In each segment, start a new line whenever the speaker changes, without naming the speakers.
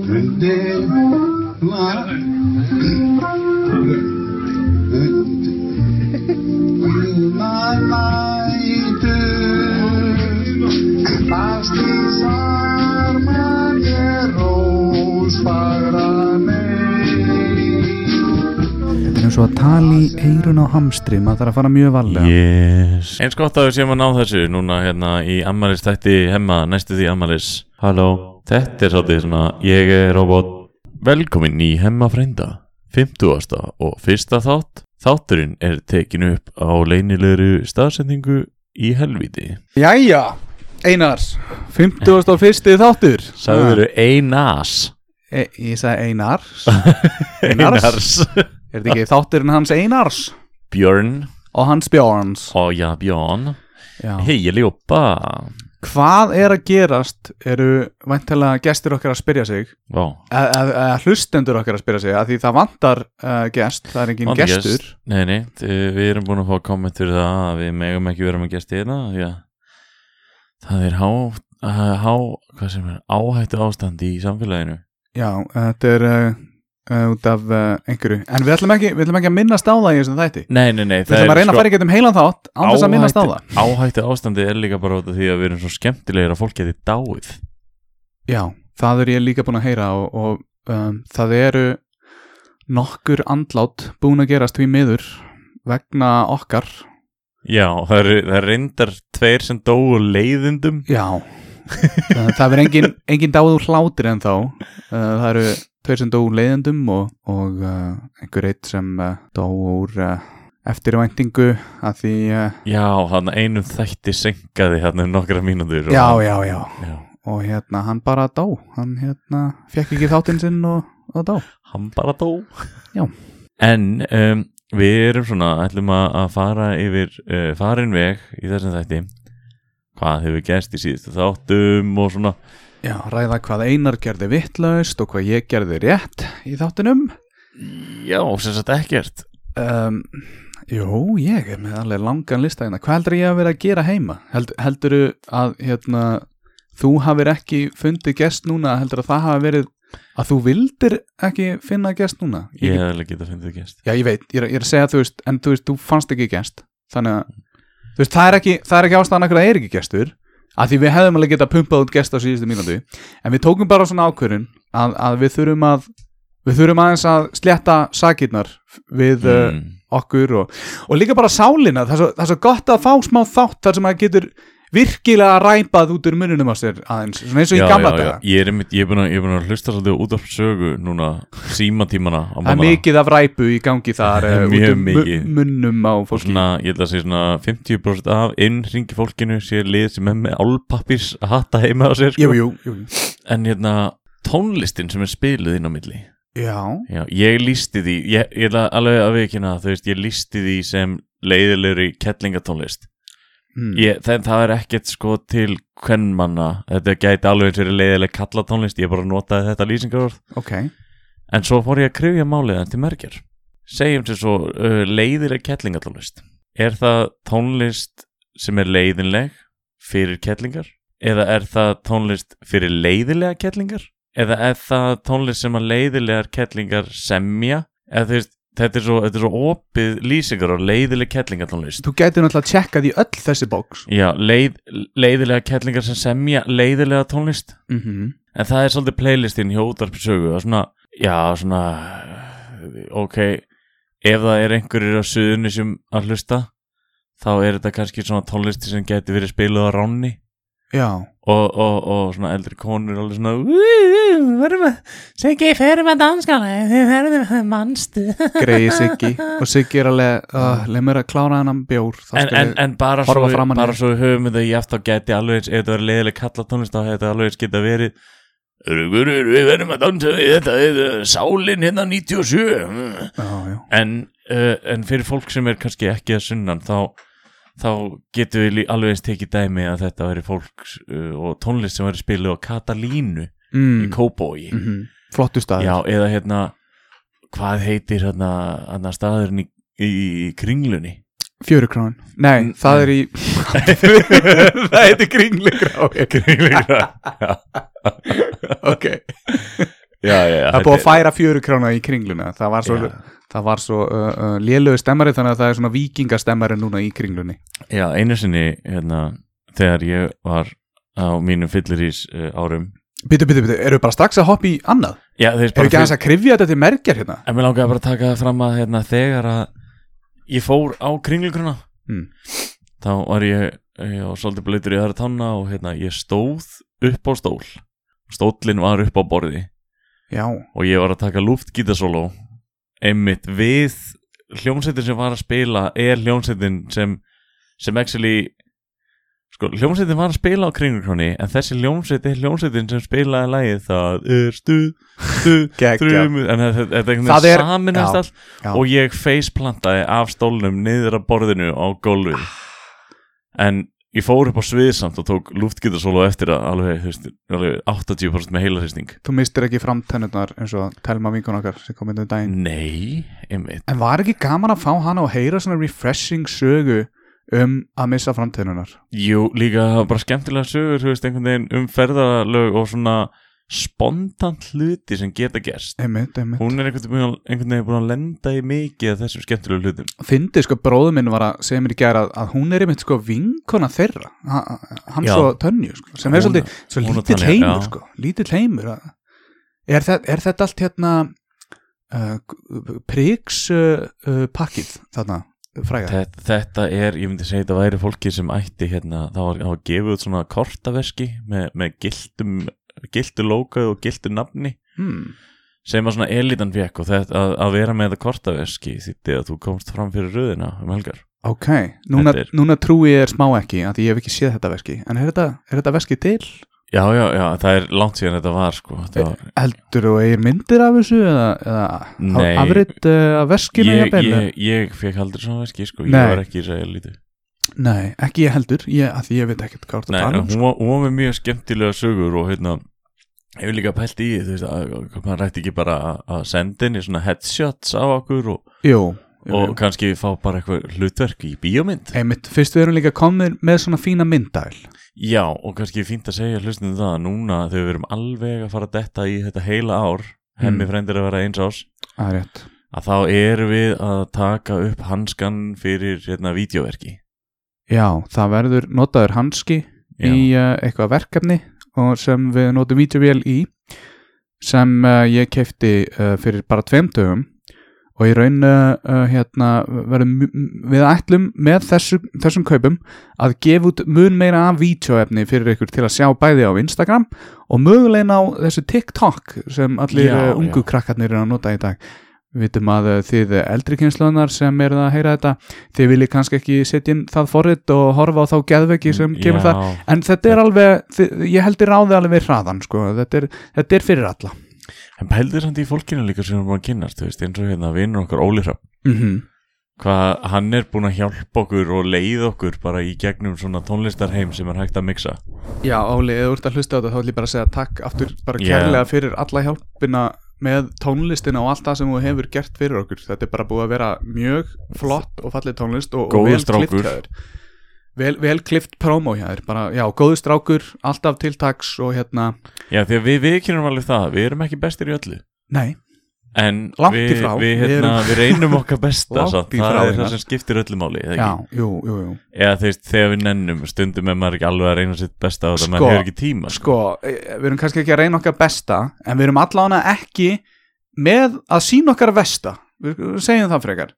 De la my light Pastis armar que rós fagra mig
Þetta er eins og að tala í eirun á hamstri, maður þarf að fara mjög varlega.
Yes Eins gott að við séum að ná þessu núna hérna í Amalis þætti hemma næstu því Amalis Halló Þetta er svolítið svona Ég er robot Velkomin í hemma frænda 50. og fyrsta þátt Þátturinn er tekin upp á leynilegru staðsendingu í helviti
Jæja, Einars, 51. þáttur.
Sagður þau einars
E ég sagði Einars. Einars.
Einars
Er þetta ekki þátturinn hans Einars?
Björn
Og hans Björns.
Og já Björn
Já.
Hei ég ljópa
Hvað er að gerast, eru væntalega gestir okkar að spyrja sig,
Vá
eða- eða eða hlustendur okkar að spyrja sig, að því það vantar uh, gest, það er engin
Vantar gest.
gestur.
Nei, nei, þi- við erum búin að fá komment fyrir það að við megum ekki vera með gesti hérna því að það er há, uh, há hvað sem er, áhættu ástand í samfélaginu
Já, þetta er uh, uh, út af uh, einhverju. En við ætlum, ekki, við ætlum ekki að minnast á það í þessum þætti.
Nei, nei, nei
Við ætlum að reyna að fara í getum heilan þátt án þess að minnast á það.
Áhættu ástandi er líka bara út af því að við erum svo skemmtilegir að fólk geti dáið
Já, það er ég líka búin að heyra og, og um, það eru nokkur andlát búin að gerast því miður vegna okkar.
Já, það eru það er reyndar tveir sem dóu úr leiðindum
Já, það, það verður engin, engin dáður hlátir en þá. Uh, það eru tveir sem dó úr leiðendum og, og uh, einhver eitt sem uh, dó úr uh, eftirvæntingu að því... Uh,
Já, þannig einum þætti senkaði hérna um nokkra mínútur og-
já, já, já.
já
Og hérna, hann bara dó. Hann hérna, fekk ekki þáttinn sinn og, og dó.
hann bara dó
Já.
en um, við erum svona ætlum að, að fara yfir uh, farin veg í þessum þætti hvað hefur gerst í síðustu þáttum og svona
Já, ræða hvað Einar gerði vittlaust og hvað ég gerði rétt í þáttunum.
já, sem sagt ekkert
Um, jú, ég er með alveg langan lista hérna. Hvað heldur ég að vera að gera heima? Held, heldurðu að hérna, þú hafir ekki fundið gest núna? Heldur að það hafi verið að þú vildir ekki finna gest núna?
ég
Ég,
hef alveg getað fundið gerst
Já, ég veit, ég er, ég er að segja þú veist, en þú veist, þú fannst ekki gest. Þannig að, þú veist, það er ekki, það er ekki ástæðan akkur að það er ekki gestur. Að því við hefðum alveg getað pumpað út gest á síðustu mínútu. En við tókum bara svona ákvörun að, að við þurfum að, við þurfum aðeins að slétta sakirnar við, mm
mm.
okkur og, og líka bara sálina það er, svo, það er svo gott að fá smá þátt þar sem maður getur virkilega ræpað út úr mununum á sér aðeins svona eins og
já,
í gamla
já, já.
daga
ég er, einmitt- ég er búin að, ég er búin að hlusta svolítið út af sögu núna símatímana á
það er
morgnana.
mikið af ræpu í gangi þar eh, út
Mjög
úr mu-
mikið.
munnum á fólki
svona, ég held að segja svona 50% af innringi fólkinu sé lið sem er með álpappis að hatta heima á sér
jú,
sko.
jú, jú, jú.
en hérna tónlistin sem er spiluð inn á milli
já,
Já, ég lísti því, ég, ég ætla alveg að viðkynna það, þú veist, ég lísti því sem leiðilegri kettlingatónlist.
mm.
Ég, það, það er ekkert sko til kvennmanna, þetta gæti alveg eins og verið leiðileg kallatónlist, ég bara notaði þetta lýsingarorð.
ok
En svo fór ég að krifja máliðan til merkjar. Segjum sem svo uh, leiðileg kettlingatónlist. Er það tónlist sem er leiðinleg fyrir kettlingar? Eða er það tónlist fyrir leiðilega kettlingar? Eða er það tónlist sem að leiðilegar kettlingar semja? Eða þú veist, þetta er svo, þetta er svo opið lýsingar á leiðileg kettlingatónlist.
þú gætir náttúrulega að checka því öll þessi bóks
Já, leið, leiðilega kettlingar sem semja leiðilega tónlist.
mm -hmm.
En það er svolítið playlistin hjá útarpsögu og svona, já, svona ok, ef það er einhverjir á suðunni sem að hlusta þá er þetta kannski svona tónlisti sem geti verið spiluð á ránni
já,
og, og, og svona eldri konur alveg svona "Ú, verðum að, Siggi, ferum að danskala þið verðum mannstu
greiði Siggi og Siggi er alveg uh, leið mér að klára hennan bjór þá
en,
skal
en,
ég-
en bara
horfa
svo,
framan í
bara
þig.
svo við höfum þetta í eftir og geti alveg eins, ef þetta verið leiðileg kalla tónlist þá hefði þetta alveg eins geta verið "Rugurur, Við verðum að dansa við þetta, þetta sálinn hérna 97 mm."
já, já.
en, uh, en fyrir fólk sem er kannski ekki að sunnan þá, þá getum við lí- alveg eins tekið dæmi að þetta verið fólk uh, og tónlist sem verið spiluð á Katalínu í
Mm.
Kóbói
Mm flottu staður
Já, eða hérna hvað heitir hérna, hérna staðurinn í, í, í kringlunni
Fjörukrán Nei,
Mm,
það er í Það heitir kringlugrá
Kringlunni
Ok
já, já, já,
það er búið að færa fjöru krána í kringluna það var svo,
Já.
það var svo uh, uh, lélögu stemmari þannig að það er svona vikingastemmari núna í kringlunni
Já, einu sinni hérna, þegar ég var á mínum fyllirís uh, árum
Bitu, bitu, bitu, eru bara strax að hoppa í annað?
Já, þeir
Eru
bara
ekki aðeins að krifja þetta til merkjar hérna?
En mér langaði bara að taka það fram að hérna, þegar að ég fór á kringlugruna
Mm.
þá var ég, eh, ég var svolítið blöytur í aðra tanna og hérna, ég stóð upp á stól stólinn var upp á borði
Já,
og ég var að taka lúftgítasóló einmitt við hljómsveitin sem var að spila er hljómsveitin sem sem actually sko, hljómsveitin var að spila á kringurkróni en þessi hljómsveit er hljómsveitin sem spilaði lagið það er stuð, stuð,
geggja
þrjum en þetta þetta er einhvern
Það er-
veginn saminast
já,
allt
já.
og ég faceplantaði af stólnum niður að borðinu á gólfið
Ah.
en ég fór upp á svið samt og tók lúftgítasóló eftir að alveg, þú veist, alveg 80% með heilarýsting
Þú mistir ekki framtennurnar eins og telma vinkun okkar sem kom inn um daginn
Nei, einmitt
En var ekki gaman að fá hana og heyra svona refreshing sögu um að missa framtennunar?
Jú, líka það var bara skemmtilega sögur, þú veist, einhvern veginn um ferðalög og svona spontant hluti sem geta gerst
Einmitt, einmitt
Hún er einhvern veginn, einhvern veginn búin að lenda í mikið af þessum skemmtilegu hlutum
Fyndi sko bróðu minn var að segja mér í gera að, að hún er einmitt sko vinkona þeirra ha, hann
Já.
svo tönju sko sem er
Hún-
svolítið svo
hún og
lítill
Tanja,
heimur
já.
sko lítill heimur að- er, það, er þetta allt hérna uh, priks uh, uh, pakkið þarna fræga
þetta, þetta er, ég myndi segja þetta væri fólki sem ætti hérna, það var, það var gefið út svona kortaverski með, með gildum, gildu lókaðu og gildu nafni
hmm.
sem að svona elitan fekk og þetta að, að vera með þetta kortaverski þýtti að þú komst fram fyrir röðina um helgar
ok, núna,
Þetta er-
núna trúi ég er smá ekki að ég hef ekki séð þetta veski en er þetta, er þetta veski til?
Já, já, já, það er langt síðan þetta var sko þetta var,
Eldur og eigir myndir af þessu eða, eða
Nei.
afrið uh, veskinu
ég,
jafnvel, eða?
ég, ég fekk aldrei svona verki sko, ég
Nei.
var ekki í Israelítu
Nei, ekki ég heldur, ég, að því ég veit ekkert hvað þú ert
Nei,
að
en
tala um
hún, var- hún var með mjög skemmtilega sögur og hérna hefur líka pælt í, því, þú veist, að, að maður rætti ekki bara að- að senda henni svona headshots á okkur og,
Jú, jú,
og
jú.
kannski fá bara eitthvað hlutverk í bíómynd
Einmitt, fyrst við erum líka komið með svona fína myndæl
Já, og kannski fínt að segja hlustinu það að núna þegar við erum alveg að fara að detta í þetta heila ár hemmi
Mm.
frendir að vera eins ás
Það er rétt
að þá erum við að taka upp hanskan fyrir hérna vídeoverki
Já, það verður notaður hanski
Já,
í uh, eitthvað verkefni og sem við notum vídeovél í sem uh, ég kefti uh, fyrir bara tveim dögum og ég raun uh, uh, hérna, verðum, m- við ætlum með þessu, þessum kaupum að gefa út mun meira af vídeoefni fyrir ykkur til að sjá bæði á Instagram og mögulegna á þessu TikTok sem allir
Já,
já, ungu
já.
krakkarnir eru að nota í dag við vitum að uh, þið eldri kynslunar sem eru að heyra þetta þið viljið kannski ekki setja inn það forrið og horfa á þá geðveki sem kemur þar
Mm, Já.
En þetta er alveg, þi- ég heldur ráði alveg við hraðan sko, þetta er, þetta er fyrir alla.
En pældir samt í fólkinu líka sem við erum búin að kynast, þú veist, eins og hérna vinnur okkar Óli Hrafn,
Mm
hvað hann er búin að hjálpa okkur og leið okkur bara í gegnum svona tónlistarheim sem er hægt að mixa.
Já, Óli, ef þú ert að hlusta á þetta þá ætlum ég bara að segja takk aftur bara
Já.
kærlega fyrir alla hjálpina með tónlistina og allt það sem þú hefur gert fyrir okkur. Þetta er bara búið að vera mjög flott og fallið tónlist og, og
Góður
vel
strákur.
klippt hjá þér. Vel, vel klift promo hjá þér, bara, já, góðu strákur, alltaf tiltaks og hérna,
Já, því að við, við kynum alveg það, við erum ekki bestir í öllu.
nei,
En
Langt í
við,
frá,
við,
við
hérna,
erum-
við reynum okkar besta,
Langt
satt,
í
það
frá,
er
hérna.
það sem skiptir öllu máli. eða
já,
ekki?
jú, jú, jú.
Eða þú veist, þegar við nennum, stundum er maður ekki alveg að reyna sitt besta á þetta,
Sko,
maður hefur ekki tíma. Sko.
sko, e, við erum kannski ekki að reyna okkar besta en við erum allána ekki með að sína okkar vesta við við segjum það frekar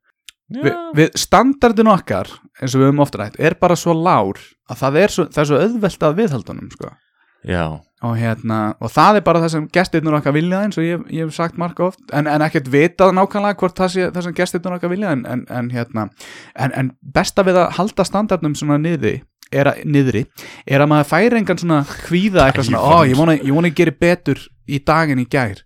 Vi, við standardin okkar, eins og við höfum ofta rætt er bara svo lár að það er svo, það er svo auðvelt að viðhaldunum sko.
Já,
og, hérna, og það er bara það sem gestirnur okkar vilja eins og ég, ég hef sagt marga oft en, en ekkert vitað nákvæmlega hvort það sé það sem gestirnur okkar vilja en, en, en, hérna, en, en besta við að halda standardnum svona niðri er að, niðri, er að maður færi engan svona hvíða eitthvað svona, ó ég vona, ég vona ég geri betur í daginn í gær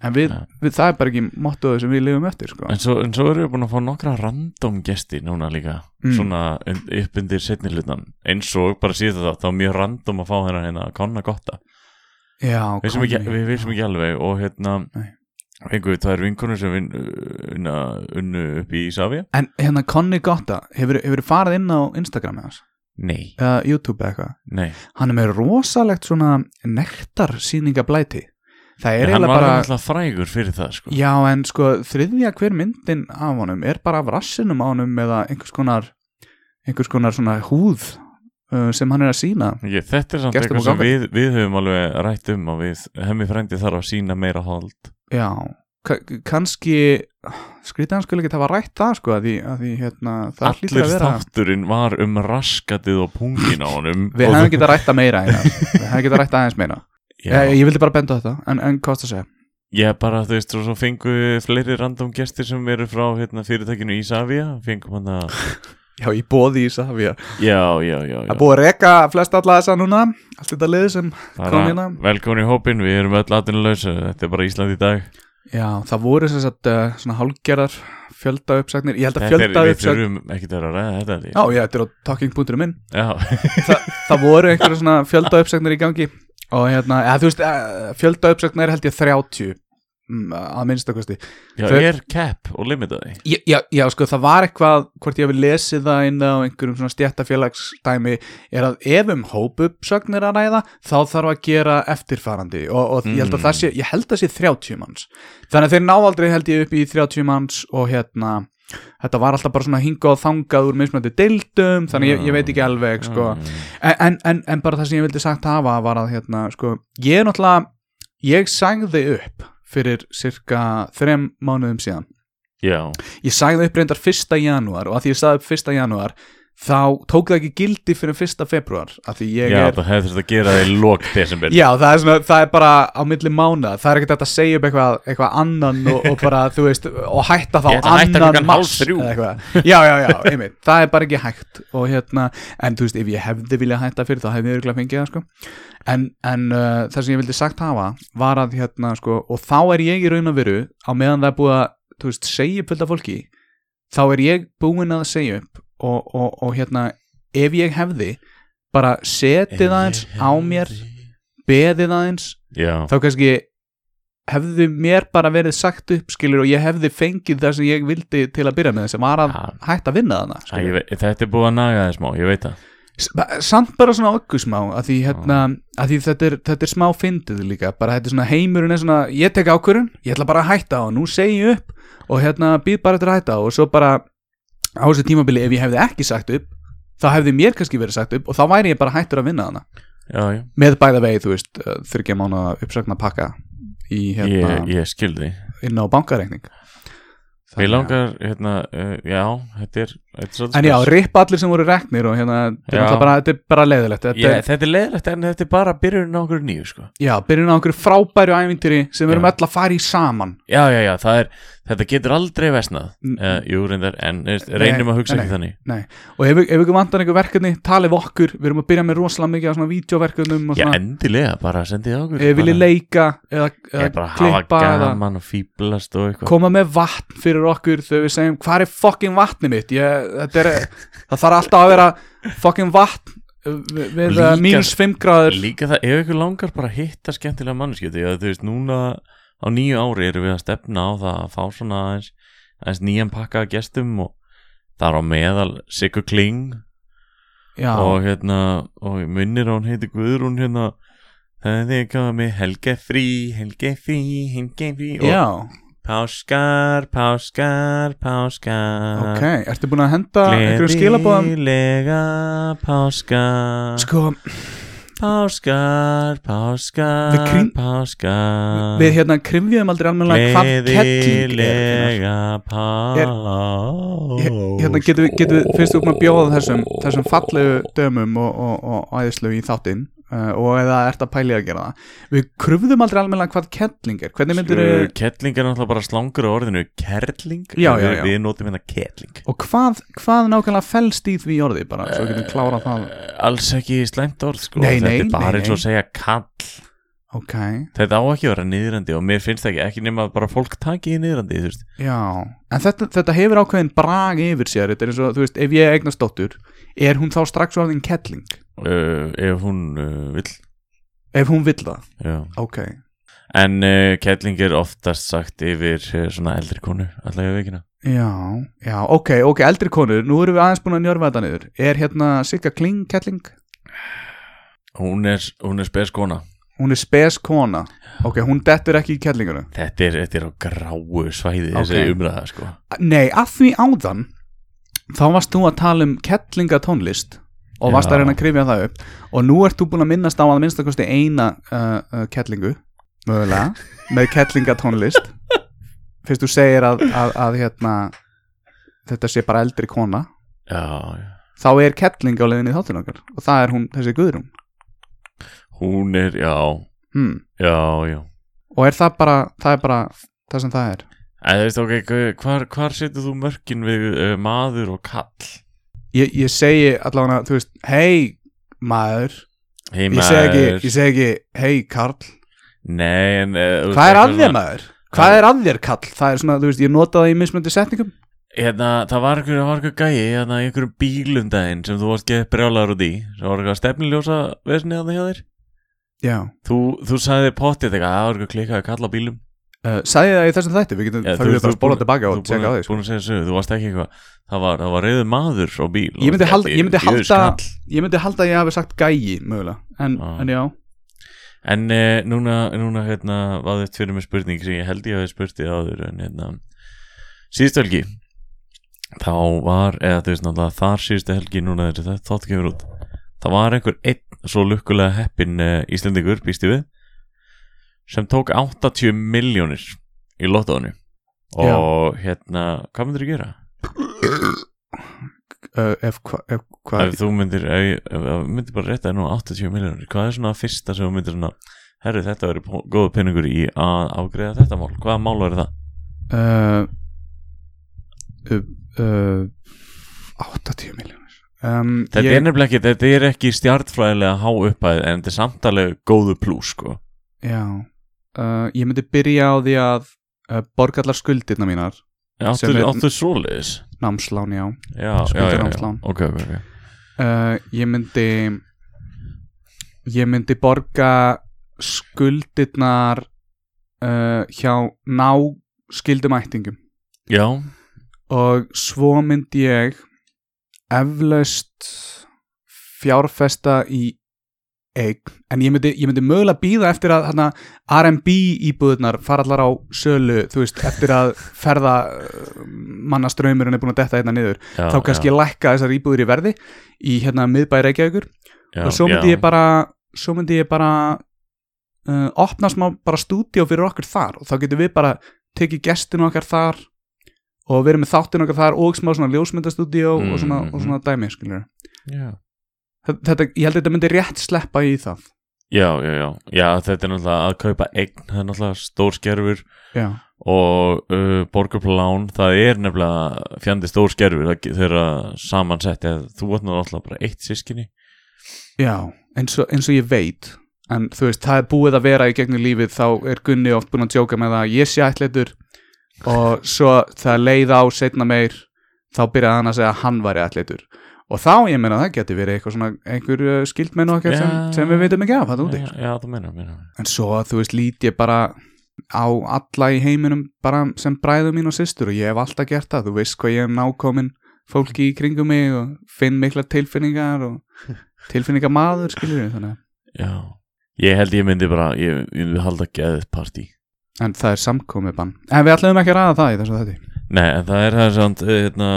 en við,
Ja.
við það er bara ekki mottoðu sem við lifum eftir sko.
en svo, en svo erum við búin að fá nokkra random gesti núna líka
Mm.
svona und- upp undir setni hlutan eins og bara síðan það, þá er mjög random að fá hennar hérna að konna gotta
já,
við sem ekki,
Conny.
við vissum ekki alveg og hérna
Nei.
einhver, það er vinkonur sem vin, unna, unnu upp í Ísafja
en hérna Conny Gotta hefur, hefur farið inn á Instagram með hans
nei,
eða YouTube eða eitthvað
nei,
hann er með rosalegt svona nektarsýningablæti það er
en hann
eiginlega
var
bara
náttúrulega frægur fyrir það sko.
já en sko þriðja hver myndin af honum er bara af rassinum á honum eða einhvers konar einhvers konar svona húð uh, sem hann er að sína
Ég, þetta er samt
Gestum
eitthvað
og
sem
gangandi.
við, við höfum alveg rætt um og við hemmi frændi þarf að sína meira hold
Já, ka- kannski skrítið hann skulle ekki hafa rætt það sko að því, að því hérna, það hlýtur
Allur
að vera
þátturinn var um raskatið og pungin á honum
Við
og
hefum getað rætt það meira einar Við hefum getað rætt það aðeins meira Eh,
Já,
ég, ég vildi bara benda á þetta, en, en hvað það segja
Ég bara, þú veist, og svo fengu við fleiri random gestir sem eru frá hérna, fyrirtækinu Ísafía Fengum hann að
Já, ég bóði í Safja
Já, já, já, já.
Það er búið að reka flest alla þessa núna Allt þetta liði sem kom
Bara,
hérna.
Velkomin í hópin, við erum öll atinlaus Þetta er bara Ísland í dag
Já, það voru sem sagt uh, svona hálgerðar fjölda uppsagnir Ég held að
Þetta er,
fjölda
við
uppsagnir
þurfum ekkert að vera að ræða þetta held ég.
Já, ég þetta er á talking.ru minn
já.
það voru einhverja svona fjölda uppsagnir í gangi og hérna, eða þú veist eh, fjölda uppsagnir held ég 30 mm, að minnstakosti
já,
Þau-
er cap og limitaði
já, já, já, sko, það var eitthvað hvort ég hefði lesið það inn á einhverjum svona stjættafélagsdæmi er að ef um hóp uppsagnir að ræða þá þarf að gera eftirfarandi og, og ég held að það sé, ég held að sé 30 manns þannig að þeir ná aldrei held ég upp í 30 manns og hérna Þetta var alltaf bara svona hingað og þangað úr mismöndi deildum, þannig ég, ég veit ekki alveg sko,
Mm.
en, en, en, en bara það sem ég vildi sagt hafa var að hérna, sko, ég er náttúrulega, ég sagði upp fyrir cirka þrem mánuðum síðan.
Já,
Ég sagði upp reyndar 1. janúar og að því ég sagði upp 1. janúar þá tók það ekki gildi fyrir 1. februar að því ég
já
er
það hefði þurft að gera það í lok desember
Já, það er, svona, það er bara á milli mánuða það er ekkert hægt að segja upp eitthvað, eitthvað annan og, og bara, þú veist, og hætta þá
Ég ætla að hætta
annan
klukkan
mars
hálf þrjú.
eða eitthvað. Já, já, já, einmitt, það er bara ekki hægt og hérna, en þú veist, ef ég hefði viljað hætta fyrir þá hefði ég örgulega fengið það, sko en, en uh, það sem ég vildi sagt hafa var að, hérna, sko, og þá er ég í raun og veru, á meðan það er búið að þú veist, segja upp fullt af fólki þá er ég búinn að segja upp og, og, og hérna, ef ég hefði bara setið aðeins á mér beðið aðeins
Já,
þá kannski hefði mér bara verið sagt upp skilur og ég hefði fengið það sem ég vildi til að byrja með sem var að
Ja.
hætta að vinna þarna
Æ,
skilurðu.
ég veit, þetta er búið að naga það smá, ég veit það
S- ba- samt bara svona augusmá að því, hérna, að því þetta, er, þetta er smá fyndið líka bara þetta er svona heimurinn er svona ég tek ákvörun, ég ætla bara að hætta og nú segi ég upp og hérna býð bara eftir að hætta og svo bara á þessu tímabili ef ég hefði ekki sagt upp þá hefði mér kannski verið sagt upp og þá væri ég bara hættur að vinna þarna
Já, já,
með bæða vegi, þú veist, uh, þryggja mánu uppsagna pakka í, hérna,
ég, ég skildi
inn á bankareikning
Mér langar, hérna, uh, já, þetta er, þetta er svolítið
En já,
spes.
ripp allir sem voru reknir og hérna, þetta er
Já.
náttúrulega bara, þetta er bara leiðilegt þetta,
Ég,
er-
þetta er leiðilegt en þetta er bara byrjun á okkur nýju sko.
Já, byrjun á einhverju frábæru ævintýri sem við erum
Já.
öll að fara í saman
Já, já, já, það er, þetta getur aldrei vesnað
Mm.
uh, Jú, reyndar, en þú veist, reynum
Nei,
að hugsa
nei,
ekki þannig
Nei, og ef, ef ykkur vantar einhver verkefni, talið við okkur Við erum að byrja með rosalega mikið á svona vídeoverkefnum og
Já,
svona,
endilega, bara sendið á okkur
ef viljið
Bara-
leika eða, eða
Ég bara hafa
klippa eða
gaman og fýblast og eitthvað
koma með vatn fyrir okkur þegar við segjum hvað er fokkin vatni mitt ég, þetta er, það þarf alltaf að vera fokkin vatn uh, við, við
Líka-
mínus 5 gráður
Líka það, ef ykkur langar bara að hitta skemmtilega manneskjöti Því að þú veist, núna á nýju ári erum við að stefna á það að fá svona aðeins, aðeins nýjan pakka að gestum og þar á meðal Siggu Kling
já,
og hérna, og ég minnir að hún heiti Guðrún hérna Það er því að koma með Helge Frí, Helge Frí, Helge Frí og
já,
Páskar, Páskar, Páskar
ok ertu búin að henda einhverjum skilabóðum
Gleðilega Páskar
sko,
Páskar, páskar,
Við kring-
páskar
við hérna krimfjum aldrei almenlega hvað kettling er hérna.
Gleðilega Sko, páskar
Hér- hérna getum við, getum við fyrst okkur að bjóða þessum þessum fallegu dömum og, og, og æðislu í þáttinn uh, og eða ert að pæli að gera það við krufðum aldrei almenlega hvað kettling er hvernig myndir við
Kettling er náttúrulega bara slangur á orðinu Kerling,
Já,
Við-
já, já.
Við notum hérna kettling
Og hvað, hvað nákvæmlega fælst í því orði bara, svo við getum klárað það
Eh, Alls ekki slæmt orð sko
Nei, nei,
Þetta er bara
nei,
eins og
nei.
að segja kall
Ok,
Þetta á ekki að vera niðrandi og mér finnst það ekki ekki nema að bara fólk taki í niðrandi þú veist.
já En þetta, þetta hefur ákveðin brag yfir sér Þetta er eins og, þú veist, ef ég eignast dóttur Er hún þá strax orðin kettling?
uh, Ef hún uh, vill
Ef hún vill það,
Já
ok
En uh, kettling er oftast sagt yfir uh, svona eldri konu Alla ég veikina
Já, já, ok, ok, eldri konur Nú erum við aðeins búin að njörfa þetta niður Er hérna Sigga Kling kettling?
Hún er, hún er spes kona
hún er spes kona ok, hún dettur ekki í kellinguna
Þetta er, þetta er á gráu svæði þessi
Ok.
umræða sko
nei, að því áðan þá varst þú að tala um kettlingatónlist og varst
Já.
að reyna að krifja það upp og nú ert þú búin að minnast á að minnst að kosti eina uh, uh, kettlingu mögulega, með kettlingatónlist fyrst þú segir að, að, að hérna, þetta sé bara eldri kona
Já, já.
þá er kettling á leiðinni þáttur okkar og það er hún, þessi guðrún
hún er, já,
hmm.
já, já
og er það bara, það er bara það sem það er
En þú veist, ok, gu- hvar, hvar setur þú mörkin við uh, maður og kall?
ég, ég segi allavega, þú veist, hei maður,
Hey,
ég segi ekki, ég segi ekki hei Karl,
Nei, en uh, þú
hvað er
veist, eitthvað
að þér
svona-
maður? Hvað er að þér Karl? Það er svona, þú veist, ég nota það í mismöndi setningum
Hérna, það var einhver, það var einhver gæi hérna, í einhverjum bílum daginn sem þú varst geð brjálaður út í sem var eitthvað stefniljósa vesni að það hjá þér
Já,
Þú, þú sagði pottið eitthvað, það var einhver klikkað að kalla á bílum
uh, sagði það í þessum þætti, við getum,
Já,
það getum bara að spóla
búin-
tilbaka
þú
og tjekka á
búin-
því sko.
Búin að segja sögu, þú varst ekki eitthvað Það var, það var reyður maður á bíl
Ég myndi
Þú varst
halda-
ekki,
ég myndi
"Djöfull
halda-
kall."
Ég myndi halda að ég hafi sagt gæi, mögulega En,
Já.
en já,
En eh, núna, núna hérna, var þetta fyrir mig spurning sem ég held ég hafi spurt þig áður en hérna, síðustu helgi þá var, eða þú veist náttúrulega þar síðustu helgi núna þegar þetta þátt kemur út það var einhver einn svo lukkulega heppin eh, Íslendingur, býst ég við sem tók 80 miljónir í lottaðinu og hérna, hvað myndir þú gera?
uh, ef hva- ef hvað
Ef þú myndir, ef, ég- ef, ef myndir bara rétta þér nú 80 miljónir, hvað er svona fyrsta sem þú myndir svona, herru þetta verður pó- góður peningur í að afgreða þetta mál, hvaða mál verður það?
uh, uh, uh, 80 miljónir um,
Þetta
ég-
er nefnilega ekki, þetta er ekki stjartfræðilega há uppæð en þetta er samtalið góðu plús sko.
Já, uh, ég myndi byrja á því að uh, borga allar skuldirna mínar, Sem
Áttu,
er-
áttu svoleiðis?
námslán, já.
Já, já, já, já,
Skuldanámslán.
ok, ok, ok.
Uh, ég myndi, ég myndi borga skuldirnar uh, hjá náskildumættingum
Já,
og svo myndi ég eflaust fjárfesta í eign, en ég myndi, ég myndi mögulega býða eftir að hana, R&B íbúðunar fara allar á sölu þú veist, eftir að ferða mannaströymurinn er búin að detta hérna niður
já,
þá kannski
já,
lækka þessar íbúður í verði í hérna miðbæri Reykjavíkur
já,
og svo myndi
já.
ég bara svo myndi ég bara uh, opna smá bara stúdíó fyrir okkur þar og þá getum við bara tekið gestin okkar þar og verið með þáttin okkar þar og smá svona ljósmyndastúdíó og, svona,
Mhm.
og svona dæmi skilur
Já.
þetta, ég held að þetta myndi rétt sleppa í það
Já, já, já, já, þetta er náttúrulega að kaupa eign, það er náttúrulega stór skerfur
já,
og uh, borgarplán það er nefnilega fjandi stór skerfur það- þegar samansett eða þú vatnar alltaf bara eitt sískinni
já eins, og, eins og ég veit en þú veist, það er búið að vera í gegnum lífið þá er Gunni oft búin að djóka með það að ég sé ætlitur og svo það leið á setna meir þá byrjaði hann að segja að hann væri ætlitur og þá, ég meina, það geti verið eitthvað svona einhver uh, skildmenn okkar sem,
Já.
sem við veitum ekki af það úti
já, já, þú meina, meina
en svo þú veist lít ég bara á alla í heiminum bara sem bræðu mín og systur og ég hef alltaf gert það þú veist hvað ég hef nákomin fólki í kringum mig og finn mikla tilfinningar og tilfinningar maður skilur við þannig að-
já. ég held ég myndi bara ég, ég myndi halda geðið partí
en það er samkomið bann en við ætlum ekki að ræða það í þessu þetta
nei, en það er það er samt uh, hérna,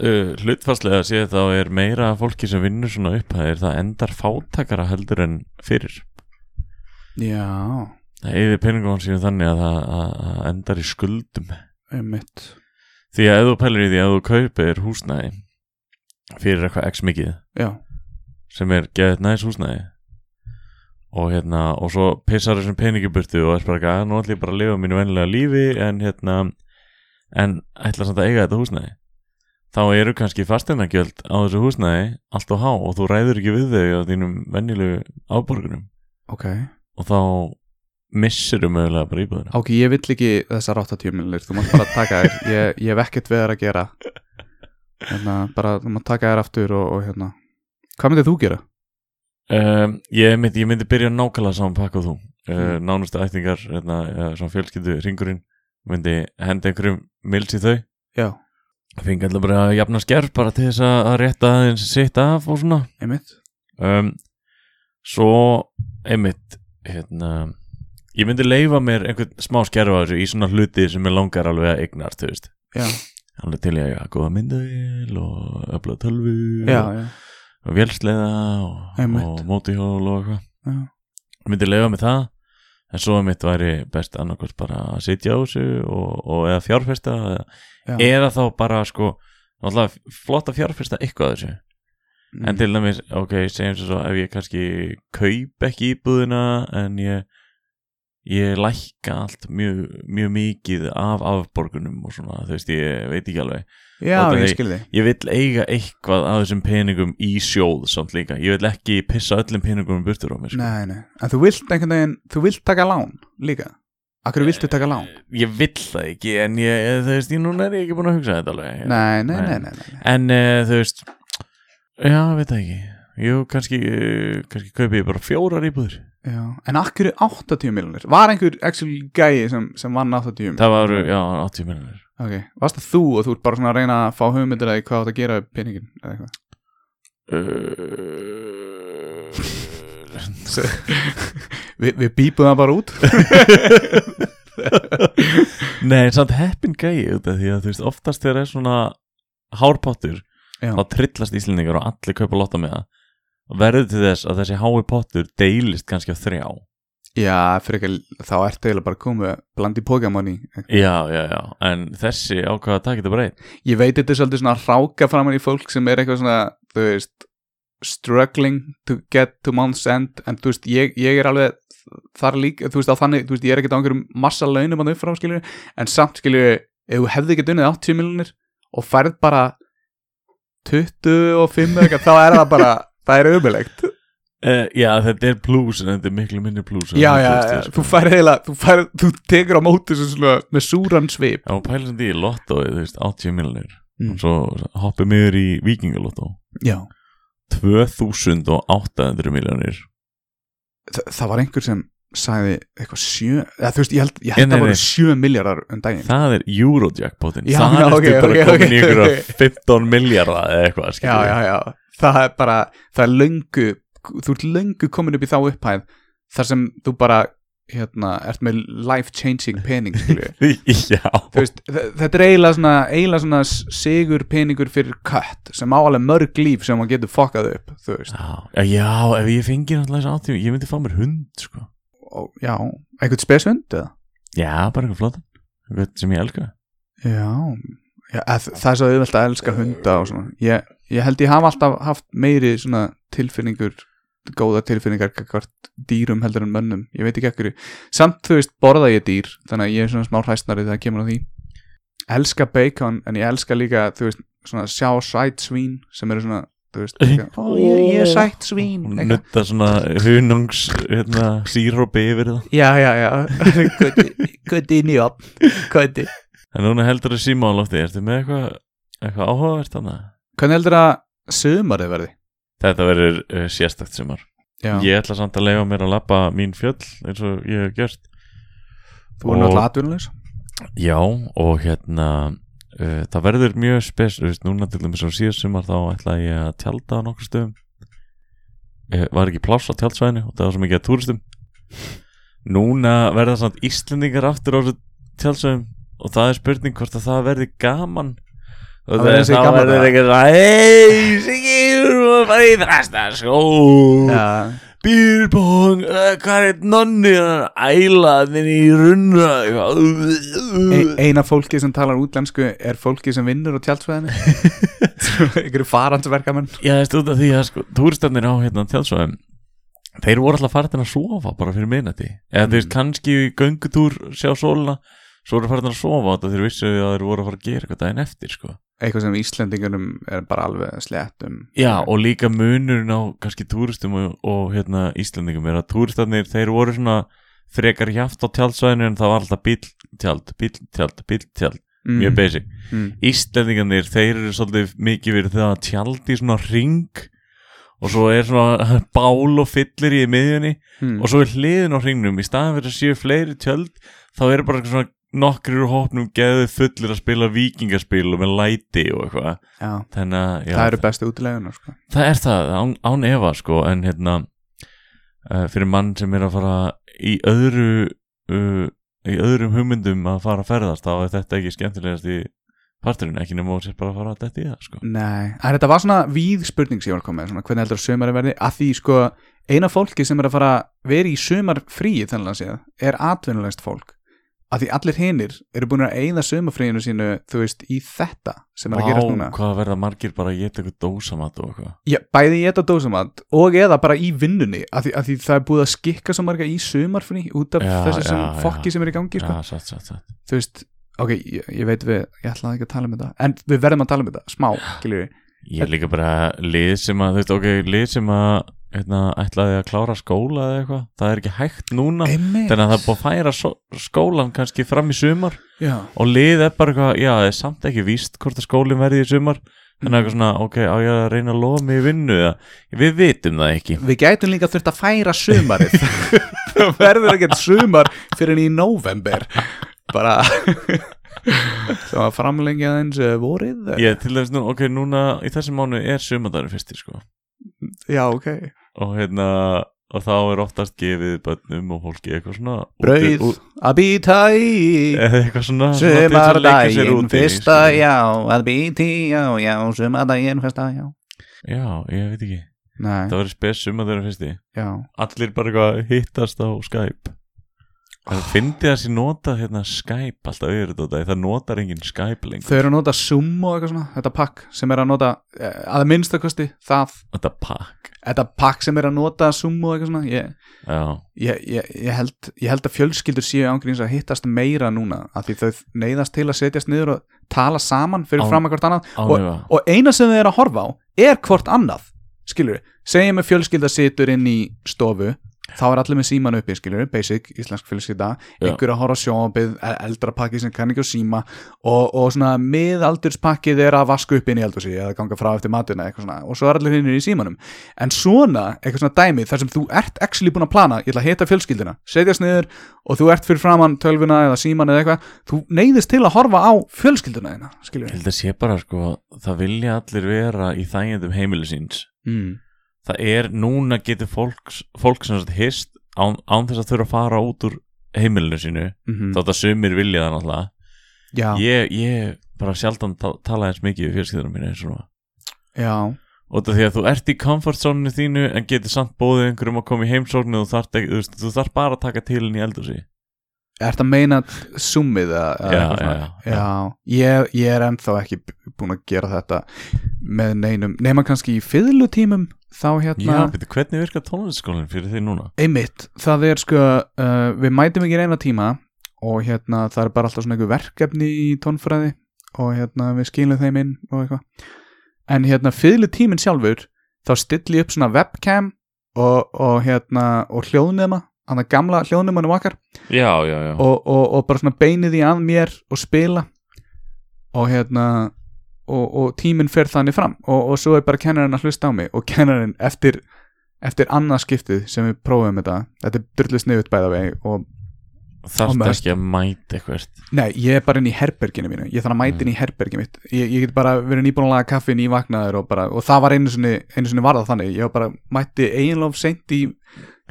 uh, hlutfarslega séð þá er meira fólki sem vinnur svona upp það er það endar fátakara heldur en fyrir
já,
það eyðir peningum hans síðan þannig að það að, að endar í skuldum
einmitt
því að ef þú pælir í því að þú kaupir húsnæði fyrir eitthvað x mikið
já,
sem er geðið næs húsnæði og hérna og svo pissar þessum peningiburtu og er bara eitthvað, "Ah, nú ætlum ég bara að lifa mínu venlega lífi en hérna en ætla samt að eiga þetta húsnæði þá eru kannski fasteinagjöld á þessu húsnæði allt og há og þú ræður ekki við þau á þínum venjulegu áborgunum
ok
og þá missir þau mögulega bara íbúðina
ok, ég vill ekki þessar 80 millir þú mátt bara taka þér, ég, ég hef ekkert við þær að gera hérna, bara þú mátt taka þér aftur og, og hérna hvað myndið þú gera?
um, ég, myndi, ég myndi byrja nákvæmlega saman pakka og þú uh, nánustu ættingar hérna, uh, svona fjölskyldu ringurinn myndi henda einhverjum mils í þau
já,
fengi alltaf bara að jafna skerf bara til þess að að rétta aðeins sitt af og svona
einmitt
um, svo einmitt hérna ég myndi leifa mér einhvern smá skerfa þessu í svona hluti sem ég langar alveg að eignar, þú veist
já,
alveg til ég að góða myndavél og öfla tölvu
já,
og,
já,
og vélsleða og,
Einmitt.
og mótihjól og eitthvað
já.
Ég myndi leifa mér það en svo að mitt væri best annarkvort bara að sitja á þessu og, og eða fjárfesta eða,
Já.
eða þá bara sko náttúrulega flott að fjárfesta eitthvað af þessu
Mhm. Mm.
En til dæmis, ok, segjum sem svo ef ég kannski kaup ekki íbúðina en ég, ég lækka allt mjög, mjög mikið af afborgunum og svona, þú veist, ég veit ekki alveg.
já,
Þetta
ég
er-
skilði
Ég vil eiga eitthvað af þessum peningum í sjóð samt líka. Ég vil ekki pissa öllum peningum um burtur á mig, sko.
nei, nei. en þú vilt einhvern veginn þú vilt taka lán líka akkur viltu taka lán
Ég vil það ekki, en ég, eh, þú veist, ég núna er ég ekki búin að hugsa þetta alveg.
nei, nei, nei,
Eh, Nei.
nei, nei.
En uh, þú veist, já, veit það ekki. Jú, kannski, uh, kannski kaupi ég bara fjórar íbúður.
Já. en akkur 80 miljonir var einhver actually gæi sem, sem vann 80 miljonir
Það var, já, 80 miljonir.
okay. varst það þú og þú ert bara svona að reyna að fá hugmyndir að því hvað átt að gera við peningin eða eitthvað
uh,
Vi, við bípuðum það bara út
Nei, samt heppin gæi auðvitað, því að þú veist, oftast þegar er svona hárpottur,
Já.
þá trillast Íslendingar og allir kaupa lotta með það og verður til þess að þessi hái pottur deilist kannski á þrjá
já, fyrir ekki, þá ertu eiginlega bara komið bland í Pokémon í
Já, já, já, en þessi ákvaða að taka þetta bara einn
ég veit þetta er svolítið svona að ráka framan í fólk sem er eitthvað svona, þú veist struggling to get to month's end en þú veist, ég, ég er alveg þar líka, þú veist, á þannig, þú veist, ég er ekkert á einhverjum massa launum að þau frá, skiljur en samt, skiljur, ef þú hefði ekki dunnið 80 miljonir og færð bara 25 eða eitthvað, þá er það bara það er umilegt
uh, Já, þetta er plús, en þetta er miklu minni plús en
já,
það
já, já,
tókst þér, sko.
þú færð eiginlega þú, færð, þú tekur á móti þessu svona með súran svip
Já, pælum því í lottóið, þú veist, 80 miljonir
Mm.
og svo hoppum yfir í vikingulottó
já,
2800 miljonir
Þa, það var einhver sem sagði eitthvað sjö eða þú veist, ég held, ég held
Nei, nei,
að voru
nei.
sjö miljardar um daginn
Það er Eurojackpotin
Já,
Það
já,
er
ok,
okay, bara
ok,
okay, komin í
ok,
ykkur
ok.
15 miljardar eða eitthvað
já, já, já, það er bara það er löngu, þú ert löngu komin upp í þá upphæð þar sem þú bara, hérna, ert með life changing pening, skilju
já.
þú veist, þe- þetta er eiginlega svona, eiginlega svona sigur peningur fyrir kött sem á alveg mörg líf sem hann getur fokkað upp, þú veist
já Já, já, ef ég fengi náttúrulega þess aðtíma Ég myndi fá mér hund, sko
og, já, einhvern spesund, eða?
Já, bara eitthvað flott Eitthvað sem ég elska
Já, já að, það er svo auðvelt að elska hunda og svona ég, ég held ég hafa alltaf haft meiri svona tilfinningur góða tilfinningar hvert dýrum heldur en mönnum ég veit ekki ekkur, samt þú veist borða ég dýr, þannig að ég er svona smá hræstnari þegar kemur á því elska bacon en ég elska líka, þú veist svona sjá sæt svín sem eru svona þú veist, líka, ó ég, ég er sætt svín
Hún
eitthvað.
Nutta svona hunungs hérna, sírópi yfir það
já, já, já kundi inn í opn, kundi
En núna heldur það síma á lofti Ertu með eitthvað eitthvað áhugavert þannig?
hvernig heldur að sömarið verði?
Þetta verður uh, sérstakt sumar
Já,
Ég ætla samt að leifa mér að labba mín fjöll eins og ég hef gert
þú voru
og-
náttúrulega atvinnulegs
Já, og hérna uh, það verður mjög spes þú veist, núna til dæmis á síðast sumar þá ætla ég að tjálta á nokkur stöðum uh, var ekki pláss á tjáltsvæðinu og það var svo mikið að túristum núna verða samt Íslendingar aftur á þessu tjáltsvæðum og það er spurning hvort að það verði gaman og
Það verður þessi gaman,
verður
eða?
eitthvað svona, hei, Siggi, þú erum að fara í þrasta skó
Já,
býrbong, hvað eh, er nonni ælaðin í runna
Ein-
eitthvað
eina fólki sem talar útlensku er fólki sem vinnur á tjaldsveðinu einhverju farandsverkamenn
Já, það stóð að því að sko, túristanir á hérna tjálsvæðum Þeir voru alltaf farin að sofa bara fyrir minnati Eða þeir kannski í göngutúr sjá sóluna Svo voru farin að sofa þetta þeir vissu að þeir voru að fara að gera eitthvað daginn eftir sko.
eitthvað sem Íslendingunum er bara alveg slett um
Já, og líka munurinn á kannski túristum og, og hérna, Íslendingum er að túristanir þeir voru svona frekar hjaft á tjálsvæðinu en það var alltaf bíl tjald, bíl tjald, bíl tjald
mm,
Mjög basic
mm.
Íslendingarnir, þeir eru svolítið mikið verið það að tjaldi svona ring og svo er svona bál og fyllir í miðjunni
Mm.
og svo er hliðin á ringnum í staðan fyrir að séu fleiri tjöld þá eru bara eitthvað svona nokkrir úr hópnum geðu fullir að spila vikingaspil og með læti og eitthvað
Já,
þannig að já,
það eru bestu útilegunar sko.
það er það, án, án efa sko en hérna uh, fyrir mann sem er að fara í öðru uh, í öðrum hugmyndum að fara að ferðast þá er þetta ekki skemmtilegast í parturinn, ekki nema og sér bara að fara að detti í það sko.
Nei, en þetta var svona víð spurning sem ég var að koma með, svona hvernig heldur að sömari verði að því sko, eina fólki sem er að fara að vera í sömar fríi þannig að séð er atvinnulegst fólk að því allir hinir eru búin að eigða sömarfríinu sínu, þú veist, í þetta sem er að gera núna.
hvað verða margir bara að geta eitthvað dósamat og eitthvað
Já, bæði í þetta dósamat og eða bara í vinnunni að því, að því það er búið að skikka svo marga í sömarfrí út af
Já,
þessu sem
já, já.
fokki sem er í gangi sko.
ja, satt, satt, satt.
þú veist, ok, ég, ég veit við ég ætlaði ekki að tala um þetta, en við verðum að tala um þetta smá, skiljum við,
ég er líka bara lið sem að, þú veist, ok, lið sem að hérna, ætlaði að klára skóla eða eitthvað, það er ekki hægt núna
einmitt
þannig að það er búið að færa so- skólan kannski fram í sumar
já,
og lið er bara eitthvað, já, það er samt ekki víst hvort að skólinn verði í sumar þannig að eitthvað svona, ok, á ég að reyna að lofa mig í vinnu eða, við vitum það ekki
við gætum líka þurft að færa sömarið það verður ekkert sömar fyrir en í november bara það var framlengja eins vorið
ég, til þess nú, ok, núna í þessum mánu er sumardagur fyrsti, sko
já, ok,
og hérna, og þá er oftast gefið bönnum og fólki eitthvað svona
brauð
úti- ú-
að býta í
eða eitthvað svona svona til þess að leika sér
sömardaginn
úti í, sko.
fyrsta
skilur.
já, að býta í já, já, sömardaginn fyrsta já
já, ég veit ekki,
nei,
það verður spes sumardagur fyrsti
já
allir bara eitthvað hittast á Skype Það
Ah.
fyndi að sé nota hérna Skype alltaf yfir þetta það notar enginn Skype lengur
Þau eru að nota Zoom og eitthvað svona, þetta pakk sem er að nota, eh, að minnstakosti það,
Þetta pakk
þetta pakk sem er að nota Zoom og eitthvað svona, ég,
Já,
ég, ég, ég, held, ég held að fjölskyldur séu ángríns að hittast meira núna, að því þau neyðast til að setjast niður og tala saman fyrir
Án-
fram að hvort annað
ánlega
og eina sem þau eru að horfa á er hvort annað, skilur, segjum að fjölskylda situr inn í stofu, þá er allir með síman uppi, skilur, basic, íslensk fjölskylda,
Já.
einhver að horfa á sjónabið, eldra pakki sem kann ekki á síma og, og svona miðaldurspakkið er að vaska upp inn í eldhúsi eða ganga frá eftir matina eitthvað svona og svo er allir hinnir í símanum en svona, eitthvað svona dæmi þar sem þú ert actually búin að plana, ég ætla að hita fjölskyldina setjast niður og þú ert fyrir framann tölvuna eða síman eða eitthvað, þú neyðist til að horfa á fjölskylduna þina,
Ég
skilur
held að sé bara sko það vilja allir vera í þægjendum heimili síns
mm.
Það er núna getur fólk, fólk sem sagt hist án, án þess að þurfa að fara út úr heimilinu sínu
Mm
mm. þótt að sumir vilja það náttúrulega
Já,
ég, ég bara sjaldan ta- tala eins mikið við fjölskyldunum mínu eins og núna
já,
Og það því að þú ert í comfort zone þínu en getur samt bóðið einhverjum að koma í heimsóknu og þú þarft, ekki, þú, veist, þú þarft bara að taka til henni í eldursi.
ert að meina summið eða eða
Já,
eitthvað svona?
já, já.
já. Ég, ég er ennþá ekki búin að gera þetta með neinum, nema kannski í fiðlutímum þá
Já,
hérna
betur, hvernig virkar tónlistaskólinn fyrir því núna?
einmitt, það er sko uh, við mætum ekki í reyna tíma og hérna það er bara alltaf svona einhver verkefni í tónfræði og hérna við skilum þeim inn og eitthvað en hérna fyrir tíminn sjálfur þá stilli ég upp svona webcam og, og hérna og hljóðnema hann að gamla hljóðnemanum okkar
Já, já, já.
og, og, og bara svona beinið í að mér og spila og hérna og, og tíminn fer þannig fram og, og svo er bara kennarinn að hlusta á mig og kennarinn eftir, eftir annað skiptið sem við prófum þetta þetta er drullu sniðut bæða vegi og
Þarft
og mest-
ekki að mæta eitthvað.
nei, ég er bara inn í herberginu mínu ég þarf að mæta inn í
Mm.
herberginu mitt ég, ég get bara verið nýbúin að laga kaffi nývagnaður og, bara, og það var einu sinni, einu sinni varða þannig ég var bara mætti eiginlof seint í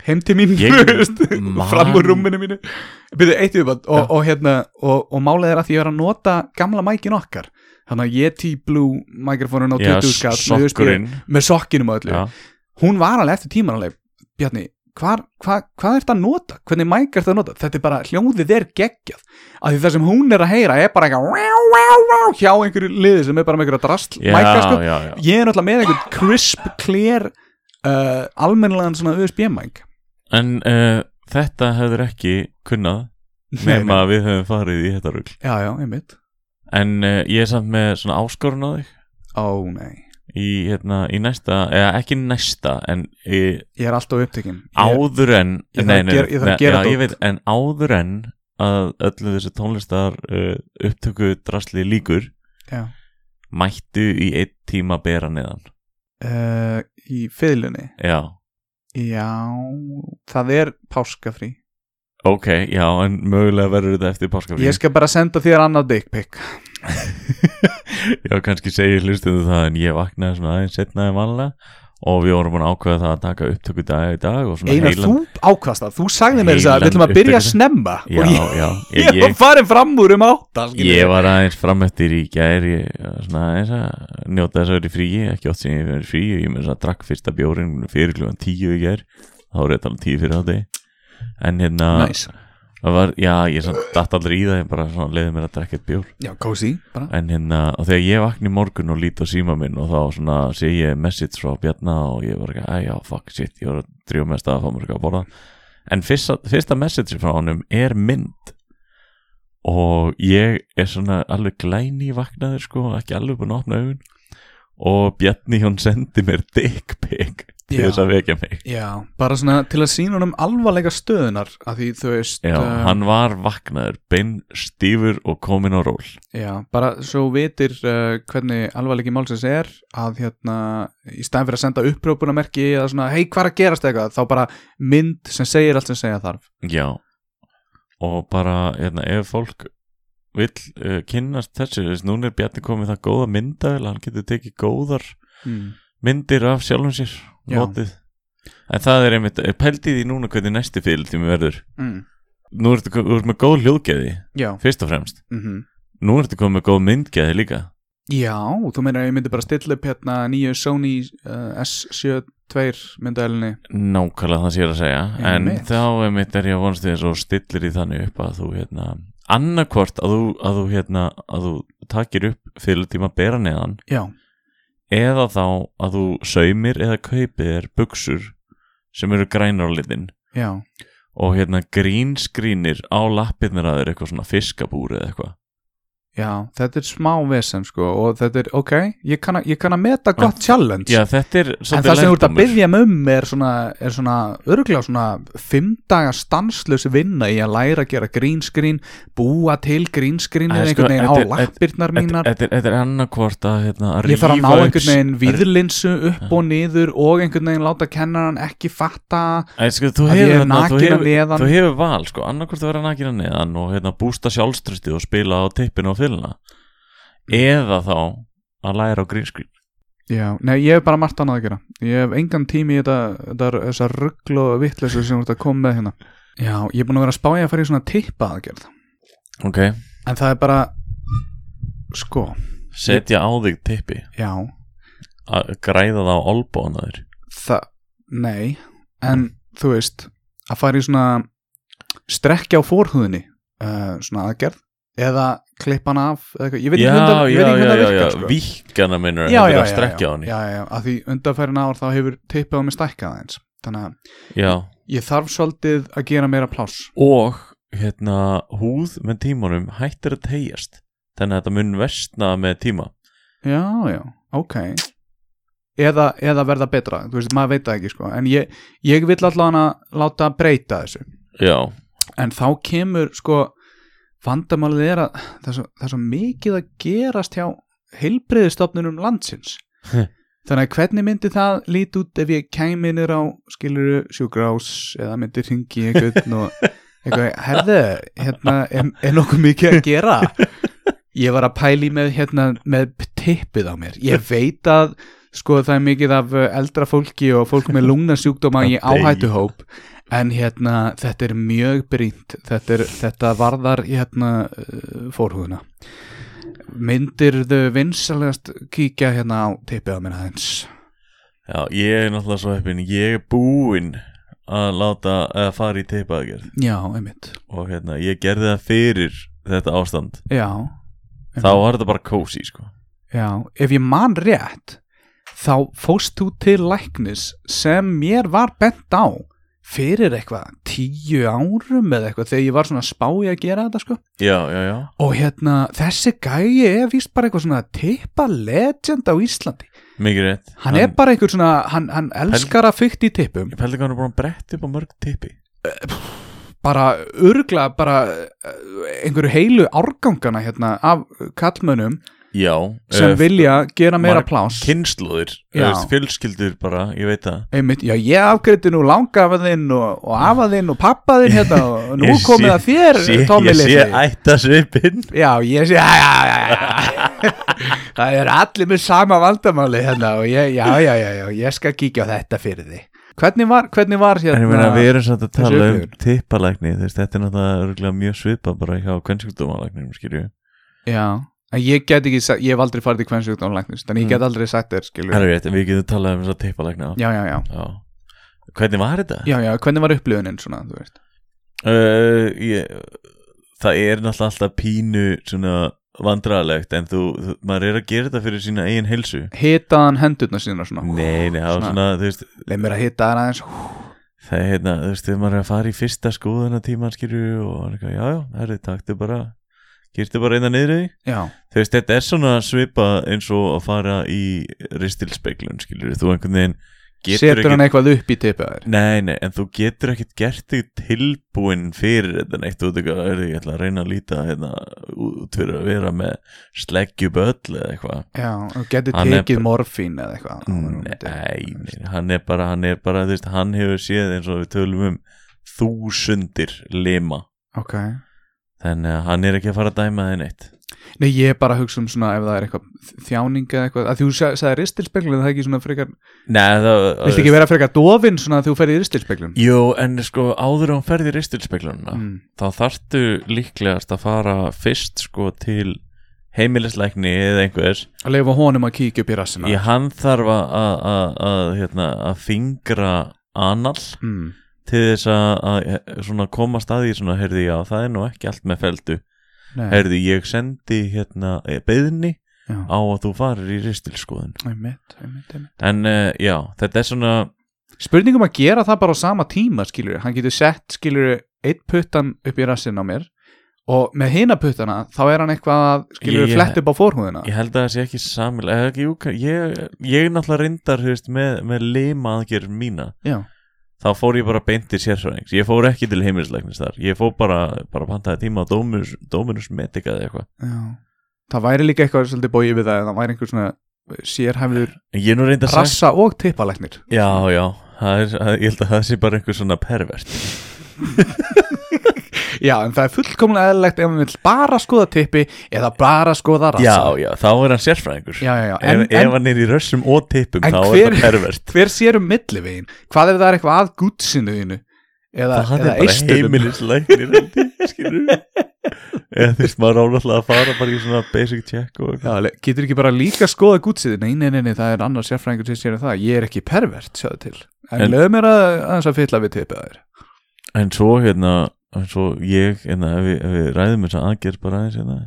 heimti mín
Ég
þú veist,
man-
fram úr rúminu mínu Byrðu, eitt yfirbætt og, og, hérna, og, og málið er að því ég er að nota gamla mækin okkar þannig að Yeti Blue mikrofónin á
Já,
20 skall með USB,
sokkurinn.
með sokkinum og öllu
Já,
hún var alveg eftir tíman alveg Bjarni, hvar, hva, hvað ert að nota? hvernig mæk ert að nota? þetta er bara, hljóðið er geggjað af því það sem hún er að heyra er bara eitthvað wow, wow, wow, hjá einhverju liði sem er bara með einhverja drasl
já,
mæka sko,
já, já.
ég er náttúrulega með einhvern crisp, clear uh, almennilegan svona USB mæk
En uh, þetta hefur ekki kunnað
Nei,
nema að við höfum farið í þetta rugl.
Já, já, einmitt
En uh, ég er samt með svona áskorun á þig
Ó, nei
í, hérna, í næsta, eða ekki næsta, en í,
Ég er alltaf upptekinn ég,
áður en
Ég þarf
nei,
að
nei,
gera- ég þarf að gera
nei, já,
þetta
ég veit, en áður en að öllu þessu tónlistar uh, upptöku drasli líkur
já,
mættu í einn tíma bera neðan
uh, Í fiðlunni
já,
Já, það er páskafrí
ok, já, en mögulega verður þetta eftir páskafrí
Ég skal bara senda þér annað dick pic
já, kannski segir hlustuðu það en ég vaknaði svona aðeins setnaði vanlega og við vorum búin að ákveða það að taka upptöku dag í dag og svona
Einar,
heilan
þú ákvast það, þú sagði mér þess að við ætlum að
Heilan
byrja
upptöku.
snemma
Já,
og ég,
já,
ég,
ég,
var
ég,
farin fram úr um átta skilur
ég
við.
var aðeins framöttir í gær ég, svona aðeins að njóta þess að vera í fríi ekki oft sem ég verið í fríi, ég með þess að drakk fyrsta bjórin fyrir klukkan tíu í gær þá voru þetta alveg um tíu fyrir þátti en hérna,
Nice.
það var, já, ég samt datt aldrei í það, ég bara svona leiði mér að drakka eitt bjór
Já, kósi bara.
en hérna, og þegar ég vakna í morgun og lít á síma minn og þá svona sé ég message frá Bjarna og ég var ekki að, já, fuck, shit, ég var að drífa með stað að fá mér eitthvað að borða en fyrsta, fyrsta message frá honum er mynd og ég er svona alveg glæni vaknaður sko, ekki alveg búin að opna augun og Bjarni hún sendi mér dick pic
Já.
til þess að vekja mig
Já, bara svona til að sína honum alvarleika stöðunar að því þú veist
Já,
um,
hann var vaknaður, bein stífur og komin á ról
Já, bara svo vitir uh, hvernig alvarleiki málsins er að hérna, í stæðan fyrir að senda upprópunamerki eða svona, hei, hvað er að gerast eitthvað þá bara mynd sem segir allt sem segja þarf
Já og bara hérna, ef fólk vill uh, kynnast þessu þess, núna er Bjarni komið það góða myndavel hann getur tekið góðar
mm.
myndir af sjálfum sér
Já.
notið. en það er einmitt eh, pældu í því núna hvernig næsti fylgtími verður
Mm.
nú ertu, ko- þú ert með góð hljóðgeði
Já,
fyrst og fremst,
mm
nú ertu komið með góð myndgeði líka
já, þú meina að ég myndi bara stilla upp hérna nýju Sony uh, S72 myndælinni
nákvæmlega það sé ég er að segja en
Einmitt.
þá einmitt er ég að vonast því að svo stillir í þannig upp að þú hérna annarkvort að þú, að þú hérna að þú takir upp fylgtíma bera neðan
Já,
eða þá að þú saumir eða kaupir þér buksur sem eru grænar á litin
já,
og hérna grínskrinir á lappirnir að þér eitthvað svona fiskabúr eða eitthvað
já þetta er smá vesen sko og þetta er, ok, ég kann, að- ég kann að meta gott challenge
Já, þetta er
En
svolítið
það sem þú ert að
lærdómur.
byggja um er svona, er svona örgulega svona fimm daga stanslösi vinna í að læra að gera green screen, búa til green screen
Æ,
eða
sko,
einhvern veginn á
þetta er-
lappirnar
Þetta-
mínar
Þetta er- þetta er annarkvort að hérna að
um, ég þarf að ná
rífa upp-
einhvern veginn viðlinsu upp og niður og einhvern veginn láta kennaran ekki fatta
Æ, sko, Þú
að ég er
hefur þarna- þú
nakin að
hefur-
neðan
þú hefur val sko, annarkvort að vera nakina neðan og hérna bústa sjálfströstið og spila á tippinu og þylna eða þá að læra á grínskrin
Já, nei, ég hef bara margt annað að gera Ég hef engan tími í þetta, þetta þessar ruggl og vitleysu sem þú ert að koma með hérna Já, ég er búin að vera að spája að fara í svona tippa aðgerð
Ok,
En það er bara Sko,
setja á þig tippi
já
að græða það á olbóna þér
það, nei en þú veist, að fara í svona strekkja á fórhúðinni uh, svona aðgerð eða klippa hana af, eða eitthvað, ég veit
já,
ekki hundar,
já,
ég veit ekki
já,
hundar
já, já,
virkar sko.
víkana minnur
já, já,
þetta er að
já, já,
strekja á henni
já,
já,
já, að því undarfærin ár þá hefur tippið á mig stækkað aðeins þannig að ég þarf svolítið að gera meira pláss
og hérna húð með tímanum hættir að tegjast þannig að þetta mun vestna með tíma
já, já, ok eða, eða verða betra, þú veist, maður veit það ekki sko. en ég, ég vil allan að láta breyta þessu
já,
en þá kemur sko vandamálið er að það er svo, það er svo mikið að gerast hjá heilbreyðistofnunum landsins
Hm.
þannig að hvernig myndi það lít út ef ég kæmi niður á skiluru sjúkrás eða myndi ringi einhvern og eitthvað, herðu, hérna er, er nokkuð mikið að gera ég var að pæli með hérna með tippið á mér, ég veit að sko það er mikið af uh, eldra fólki og fólk með lungnasjúkdóma í
Að deyja.
áhættuhóp En hérna, þetta er mjög brýnt, þetta, er, þetta varðar hérna uh, fórhúðuna. Myndirðu vinsalegast kíkja hérna á tippið á minna aðeins?
já, ég er náttúrulega svo heppin ég er búinn að láta að fara í teipaðgerð
Já, einmitt.
og hérna, ég gerði það fyrir þetta ástand
Já, Mhm.
þá var þetta bara kósi, sko
já. Ef ég man rétt, þá fóst þú til læknis sem mér var bent á fyrir eitthvað tíu árum eða eitthvað þegar ég var svona að spá í að gera þetta sko.
já, já, já,
Og hérna, þessi gæi er víst bara eitthvað svona tippa legend á Íslandi.
mikið rétt
hann er bara einhver svona, hann, hann elskar að fykta í tippum,
ég pældi hvað hann er búin að bretta upp á mörg tippi
bara örgla bara eh, einhverju heilu árgangana hérna af kallmönnum
já
sem
eh,
vilja gera meira
marg-
plás
kynnslóðir,
Já.
eh, fjölskyldur bara, ég veit það
Einmitt, já ég afgreyti nú langafaðinn og, og afaðinn og pappaðinn hérna og nú
Ég
komið
sé-
að þér
sé,
Tommi
ég sé
litli.
ættasvipin
Já ég sé já, já, já, já. Það er allir með sama vandamáli hérna og ég, já, já, já, já, ég skal kíkja á þetta fyrir því Hvernig var, hvernig var
En
hérna
ég meina, við erum samt að
þessi
tala um
upplifun.
tippalækni, þú veist, þetta er náttúrulega örugglega mjög svipað bara hjá kvennsjúkdómalækninum, skilju.
Já, en ég get ekki, sagt- ég hef aldrei farið í kvensugdómlæknist Þannig
Mm.
ég get aldrei sagt þér skilur
Það er rétt, en við getum talað um þess að tippalækna.
Já, já, já,
já. Hvernig var þetta?
já, já, hvernig var upplifunin svona, þú veist
Uh, ég, það er náttúrulega alltaf pínu svona vandræðalegt, en þú, þú, maður er að gera þetta fyrir sína eigin heilsu.
Hitaðan hendurna sína svona
Nei, nei, það var
Svona-
svona, þú veist,
Leif mér að hita þær aðeins
það er hérna, þú veist, þegar maður er að fara í fyrsta skoðuna tíma, skilju, og hann er eitthvað, já, já, herri, taktu bara, gertu bara hérna einna niður í því.
Já,
þú veist, þetta er svona svipa eins og að fara í ristilspeiklun, skilur þú einhvern veginn getur
setur hann
ekki
eitthvað upp í tipið á þér
Nei, nei, en þú getur ekkert gert þig tilbúinn fyrir þetta neitt út eitthvað, er ég ætla að reyna að líta hérna út fyrir að vera með sleggjuböll eða eitthvað.
Já, og getur
Hann er
tekið
bara-
morfín eða eitthvað áður en hún
Nei,
deyr.
nei, hann er bara, hann er bara, þú veist, hann hefur séð eins og við tölum um þúsundir lima,
Ok
þannig að hann er ekki að fara að dæma þig neitt.
Nei, ég er bara að hugsa um svona ef það er eitthvað þjáning eða eitthvað að Þú sa- sagði ristilspeglun, það er ekki svona frekar
Nei, það...
Vilt ekki vera frekar dofin svona að þú ferð í ristilspeglun?
Jú, en sko, áður en hún ferði ristilspeiklununa,
Mm.
þá þarftu líklegast að fara fyrst sko til heimilisleikni eða einhvers
Að leifa honum að kíkja upp í rassina
ég hann þarf að- að að- að, hérna, að fingra anal
mm.
til þess að, að eh, svona komast að því svona, heyrði, já, það er nú ekki allt með feldu
Nei,
heyrði, ég sendi hérna beðni
já,
á að þú farir í ristilskoðun
einmitt, einmitt, einmitt.
en uh, já, þetta er svona
Spurningum að gera það bara á sama tíma skilur Hann getur sett skilur eitt puttan upp í rassin á mér og með hina puttana þá er hann eitthvað að skilur
Ég- ég-
flett upp á fórhúðina
ég held að það sé ekki samil eða ekki, jú, kann- ég, ég náttúrulega reyndar þú veist, með, með lima aðgerð mína
Já,
þá fór ég bara beint til sérfræðings ég fór ekki til heimilisleiknis þar ég fór bara, bara pantaði tíma á Dominus, Dominus Medica eða eitthvað
já Það væri líka eitthvað svolítið bóið við það en það væri einhver svona sérhæfður
en ég er nú reyndi að sagt
rassa og tippalæknir
já, já, það er, það- ég held að það sé bara einhver svona pervert
Já, en það er fullkomlega eðlilegt ef hann vil bara skoða tippi eða bara skoða rassa
já, já, þá er hann sérfræðingur
já, já, já.
en,
En,
ef, ef hann er í rössum og tippum
En
þá
hver-
er það pervert
en hver sér um millivegin? Hvað ef það er eitthvað að gútsinu þínu? Eða,
það er
eða H&M?
bara
eistunum?
heimilisleiknir skilur við eða þú veist, maður ánáttúrulega að fara bara í svona basic check og
Já, le- getur ekki bara líka skoða gútsið nei, nei, nei, nei, það er annar sérfræðingur sem sér um það ég er ekki pervert, sjáðu til en, en
En-
lögum mér að aðeins að fylla við tippið þær
en svo hérna en svo ég, hérna, ef við, ef við ræðum þess að aðgerð bara aðeins hérna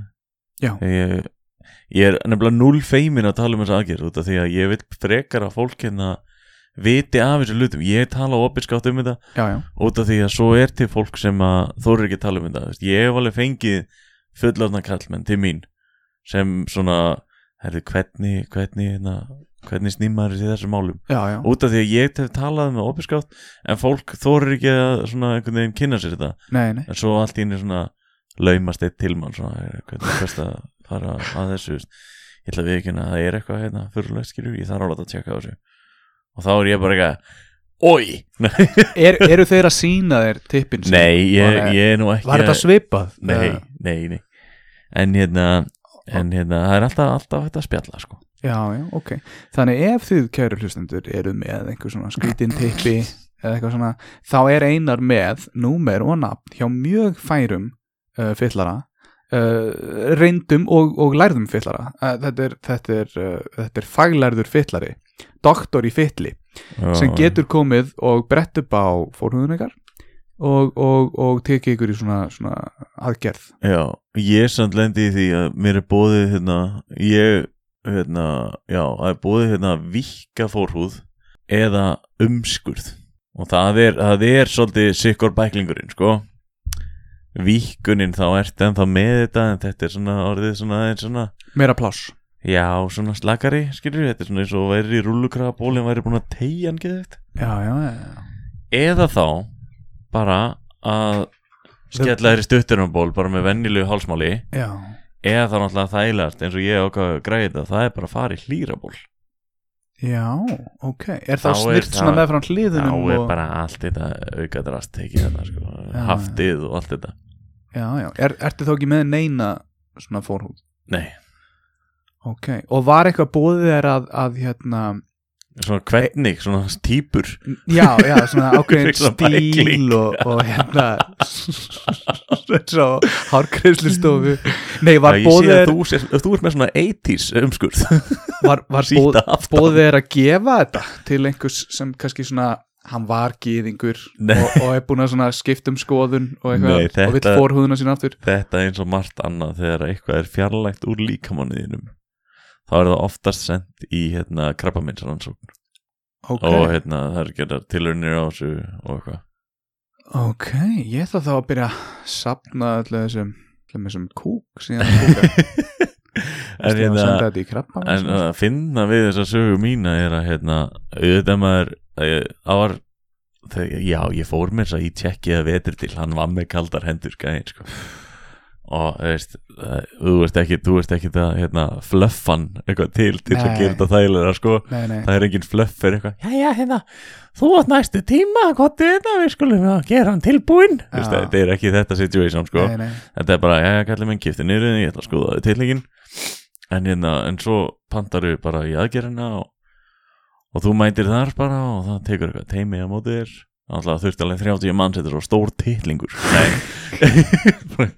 Já.
ég, ég er nefnilega null feimin að tala um þess aðgerð út af því að ég vil frekar að fólk hérna viti af þessu lutum, ég tala opinskátt um þetta
já, já,
út af því að svo er til fólk sem að þóru ekki að tala um þetta, þú veist, ég hef alveg fengið fullorðna kallmenn til mín sem svona, herri, hvernig hvernig, hérna, hvernig snýmaður í þessum málum
já, já,
út af því að ég hef talað með opinskátt en fólk þorir ekki að svona einhvern veginn kynna sér þetta
nei, nei
en svo allt í einu svona laumast eitt til mann svona er hvernig er best að fara að þessu veist. ég ætla að viðkynna að það er eitthvað hérna fyrirlega skilur, ég þarf að láta að tjekka á þessu og þá er ég bara eitthvað oi,
er, eru þeir að sína þér tippin sem-
nei, ég,
Var-
ég er nú ekki
var þetta
að-
svipað?
nei, nei, nei en hérna, en hérna það er alltaf, alltaf þetta að spjalla sko
já, já, ok þannig ef þið kæru hlustendur eru með einhver svona skrítin tippi eða eitthvað svona, þá er einar með númer og nafn hjá mjög færum uh, fyllara uh, reyndum og, og lærðum fyllara uh, þetta, er, þetta, er, uh, þetta er faglærður fyllari doktor í fylli sem getur komið og brett upp á fórhúðun ykkar og, og, og tekið ykkur í svona, svona aðgerð
Já, ég samt lendi í því að mér er bóðið hérna, ég hérna, já, það er bóðið hérna vikka fórhúð eða umskurð og það er, það er svolítið sikkur bæklingurinn, sko vikkunin þá ert ennþá með þetta en þetta er svona orðið svona, aðeins svona
meira pláss
já, svona slakari, skilur þetta er svona eins og væri í rúllukrafabólin væri búin að tegja hann geðið
já, já, já, já.
eða þá bara að skella þér í stuttunarból bara með vennilegu hálsmáli
já
eða þá náttúrulega þægilegast eins og ég ákvað að græði þetta það er bara að fara í hlýraból
Já, ok Er
Þá
það
er
snirt
það-
svona meðfram
þá
hliðinum
er
og-
bara allt þetta auka drast tekið þetta sko,
Já,
haftið og allt þetta
Já, já, er, ertu þá ekki með neina svona fórhúð?
nei,
Ok, og var eitthvað bóðið þér að, að hérna,
svona hvernig, svona típur
já, já, svona ákveðin
Svona
stíl
bækling.
og, og hérna svo hárkreislistofu Nei, var
ég
bóðið
sé að
þér
þú, sér, þú ert með svona 80s umskurð
var, var bóð,
síta aftan
bóðið þér að gefa þetta til einhvers sem kannski svona hann var gýðingur
Nei.
og, og er búin að svona skipta um skoðun og eitthvað
Nei, þetta-
og vill fórhúðuna sín aftur
þetta er eins og margt annað þegar eitthvað er fjarlægt úr líkamanniðinum þá er það oftast sendt í hérna, krabbaminsrannsókn
Ok,
og hérna það er gerðar tilurnir á þessu og eitthvað
ok, ég ætla þá að byrja að sapna öllu þessum öllum þessum kúk síðan kúka
en
Ég
hérna
senda þetta í sko. krabba
en uh, að finna við þessa sögu mína er að hérna auðvitað maður eh, það var þegar, já ég fór mér þess að ég tjekki að vetur til hann var með kaldar hendur gæðin sko og þú veist, eh, þú veist ekki þú veist ekki það hérna fluffan eitthvað til til að
Nei.
gera þetta þægilega sko
Nei, nei,
það er engin fluff fyrir eitthvað já já hérna þú átt næstu tíma hvað þetta við skulum að gera hann tilbúinn Þú veist,
Já.
þetta er ekki þetta situation sko
nei, nei
þetta er bara, já, já, kallið minn kipti niður ég ætla að skoða tilíkin en hérna, en svo pantar við bara í aðgerina og, og þú mætir þar bara og það tekur eitthvað teimi á móti þér alltaf þurft alveg 30 manns þetta er svo stór titlingur nei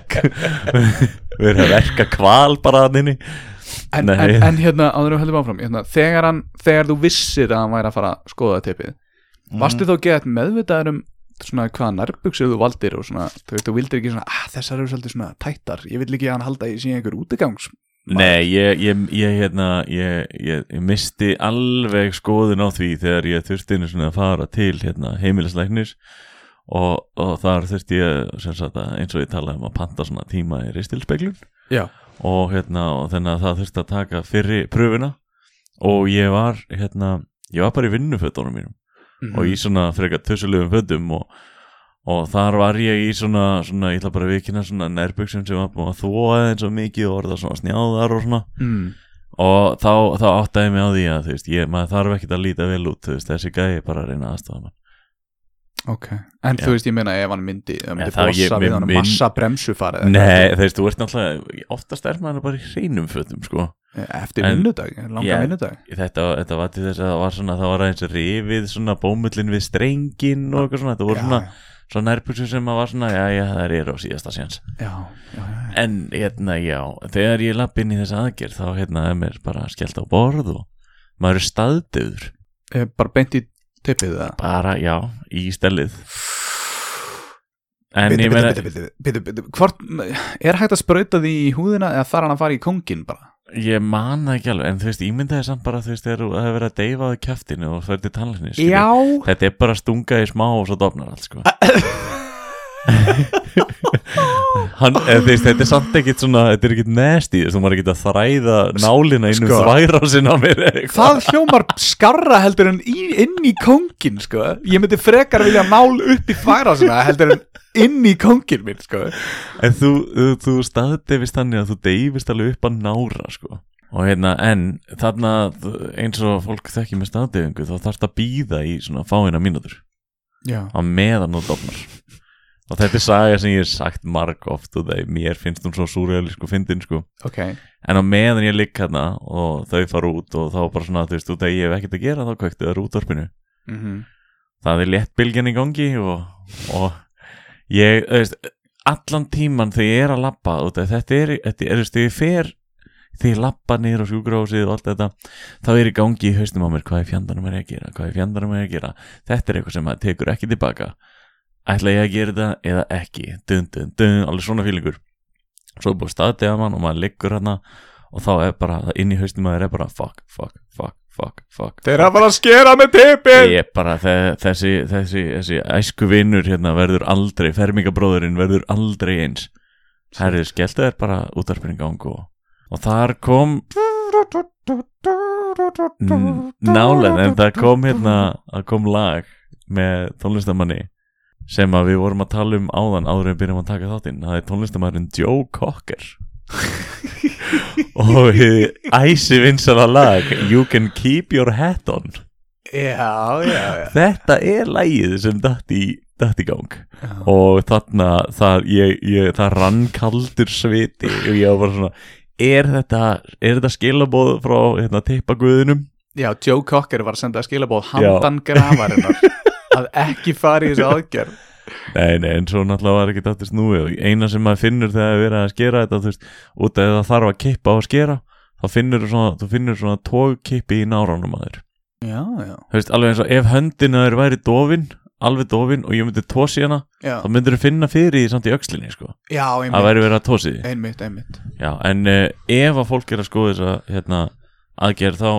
við erum að verka kval bara að nynni
En,
Nei.
en, en hérna, áður og heldur áfram hérna, þegar, hann, þegar þú vissir að hann væri að fara að skoða tippið,
Mm.
varstu þá gett meðvitaður um svona hvaða nærbuksir þú valdir og svona, þú veist, þú vildir ekki svona ah, þessar eru svolítið svona tættar, ég vil ekki að hann halda í síðan einhver útigangs
Nei, ég, ég, ég, hérna, ég, ég, ég misti alveg skoðun á því þegar ég þurfti einu svona að fara til hérna, heimilisleiknis og, og þar þurfti ég sem sagt, að, eins og ég talaði um að panta svona tíma í ristilspeglun
Já,
og, hérna, og þannig að það þurfti að taka fyrri pröfuna og ég var, hérna, ég var bara í vinnufötunum mínum
Mhm. Mm.
og í svona frekar tussulegum fötum og, og þar var ég í svona, svona ég ætla bara að vikina svona nærbuxum sem var búin að þvóa eins og mikið og orða svona snjáðar og svona
mm.
og þá, þá áttaði ég mig á því að þú veist, ég, maður þarf ekkert að líta vel út þú veist, þessi gæi er bara að reyna aðstofa mann
Ok, en
Já.
þú veist, ég meina ef hann myndi, ef hann myndi
Ja, það- ég-
bossa við
mér-
hann
minn-
massa bremsufarið
Nei, þú veist, þú ert náttúrulega oftast er maður bara í hreinum fötum sko.
eftir
En-
vinnudag, langa
Já.
vinnudag
þetta, þetta var til þess að það var svona það var aðeins rifið svona bómullin við strengin og eitthvað svona, þetta voru svona, svona nærbúsum sem maður var svona, já, já, það er á síðasta séns
já, já, já, já.
en hérna, já, þegar ég lapp inn í þess aðgerð þá hérna er mér bara skellt á borð og maður er staðdöður
Eh, bara beint í tippið það
bara, já, í stelið en
Bitu,
ég
bitu,
meina
bitu, bitu, bitu, bitu, hvort, er hægt að sprauta því í húðina eða þarf hann að fara í kongin bara?
Ég man það ekki alveg, en þú veist, ímyndaði samt bara þú veist, þegar þú- það hefur verið að deyfa á kæftinu og það er til tannlæknis skilur. Þetta er bara að stunga í smá og svo dofnar allt, sko Hann, eða, þú veist, þetta er samt ekkit svona, þetta er ekkit nasty, þú veist, þú maður ekkit að þræða nálina innum
Sko.
sko. þværásin á mér eða eitthvað.
það hljómar skarra heldur en í, inn í kongin sko. ég myndi frekar vilja nál upp í færa svona, heldur en inn í kongin minn sko.
En þú, þú, þú staðdefist þannig að þú deyfist alveg upp að nára, sko Og hérna, en þarna þú- eins og fólk þekki með staðdefingu þá þarfst að býða í svona fáina mínútur
já,
á meðan hún dofnar og þetta er saga sem ég hef sagt marg oft og það er mér finnst hún svo súrealísku fyndin sko
ok
en á meðan ég ligg hérna og þau fara út og þá bara svona þú veist út að ég hef ekkert að gera þá kveiktu þær útvarpinu
mm
það er létt bylgjan í gangi og, og ég þú veist, allan tíman þegar ég er að labba út að þetta er, þetta er þú veist, þegar ég fer þegar ég labba niður á sjúkrahúsið og allt þetta þá er í gangi í haustum á mér hvað er fjandarnum er ég að gera, hvað er fjandarnum er ég að gera þetta er eitthvað sem maður tekur ekki tilbaka ætla ég að gera þetta eða ekki dun dun dun, alveg svona fílingur svo er búið staðið að mann og maður liggur hana og þá er bara, inn í haustum maður er bara fuck, fuck, fuck, fuck, fuck
þeir að fara að skera með tippið
ég er bara þe- þessi, þessi, þessi æsku vinnur hérna verður aldrei fermingabróðurinn verður aldrei eins herrið skelltu þér bara útarpinn í gang og, og þar kom n- nálega en það kom hérna það kom lag með tónlistamanni sem að við vorum að tala um áðan áður en við byrjum að taka þáttinn það er tónlistamæðurinn Joe Cocker og hið æsi vinsala lag You Can Keep Your Hat On
Já, já,
þetta er lagið sem datt í, datt í gang og þarna það, ég, ég, það rann kaldur sviti og ég var bara svona er þetta, er þetta skilabóð frá hérna, tippaguðinum
já Joe Cocker var að senda skilabóð handan grafarinnar að ekki fara í þessu aðgerð
Nei, nei, en svo náttúrulega var ekki aftur snúið og eina sem maður finnur þegar það er verið að skera þetta, þú veist, út að ef það þarf að kippa á að skera, þá finnur svona, þú finnur svona tógkippi í náránum að þér.
Já, já,
Þú veist, alveg eins og ef höndin að þér væri dofin, alveg dofin og ég myndi tósi hana,
já,
þá myndir þú finna fyrir því samt í öxlinni, sko.
já
Það
einmitt,
væri verið að tósi því.
einmitt, einmitt
Já, en uh, ef að fólk er að skoða þess að, hérna, aðgerð þá,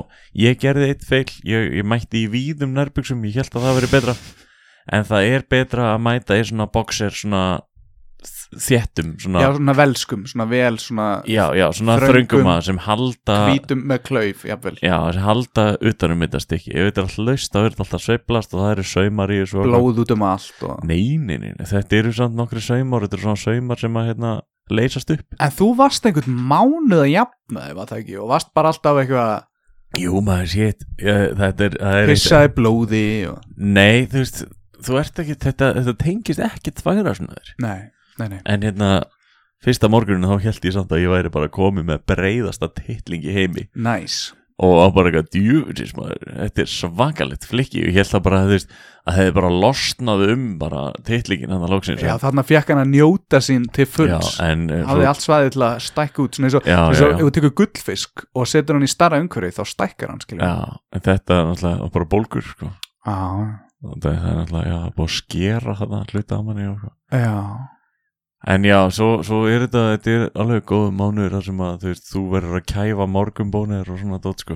ég gerði eitt feil, ég, ég mætti í víðum nærbuxum, ég held að það veri betra, en það er betra að mæta í svona boxer, svona þ- þéttum, svona,
Já,
já,
svona velskum, svona vel, svona
já, svona
Þröngum.
þröngum að sem halda,
hvítum með klauf, jafnvel
já, sem halda utanum þetta stykki, ef þetta er alltaf laust, þá er þetta alltaf sveiflast og það eru saumar í þessu. og-
blóð út um allt og...
Nei, nei, nei, nei, þetta eru samt nokkri saumar, þetta eru svona saumar sem að, hérna, leysast upp.
En þú varst einhvern mánuð að jafna þig, var það ekki, og varst bara alltaf eitthvað
Jú, maður, shit, ég, þetta er, það er
pissaði blóði og...
Nei, þú veist, þú ert ekki, þetta, þetta tengist ekki tværa svona þér.
Nei, nei, nei
En hérna, fyrsta morgunin þá held ég samt að ég væri bara komið með breiðasta titling í heimi
Nice
og var bara eitthvað djúfutis maður, þetta er svakalegt flikki og ég held það bara, þú veist, að það hefði bara losnað um bara titlingin hann að lóksins.
Já, þarna fekk hann að njóta sín til
já,
fulls
en eh,
hafði
svo,
allt svæðið til að stækka út svona eins og,
Já,
eins
já,
og
já.
ef þú tekur gullfisk og setur hann í starra umhverfi þá stækkar hann skiljum
já, en þetta er náttúrulega bara bólgur, sko.
já,
Það er það er náttúrulega, já, það er búið að skera þarna hluta að manni og eitthvað.
já,
En já, svo, svo er þetta, þetta er alveg góðum mánuður þar sem að þú veist, þú verður að kæfa morgumbónir og svona dót sko.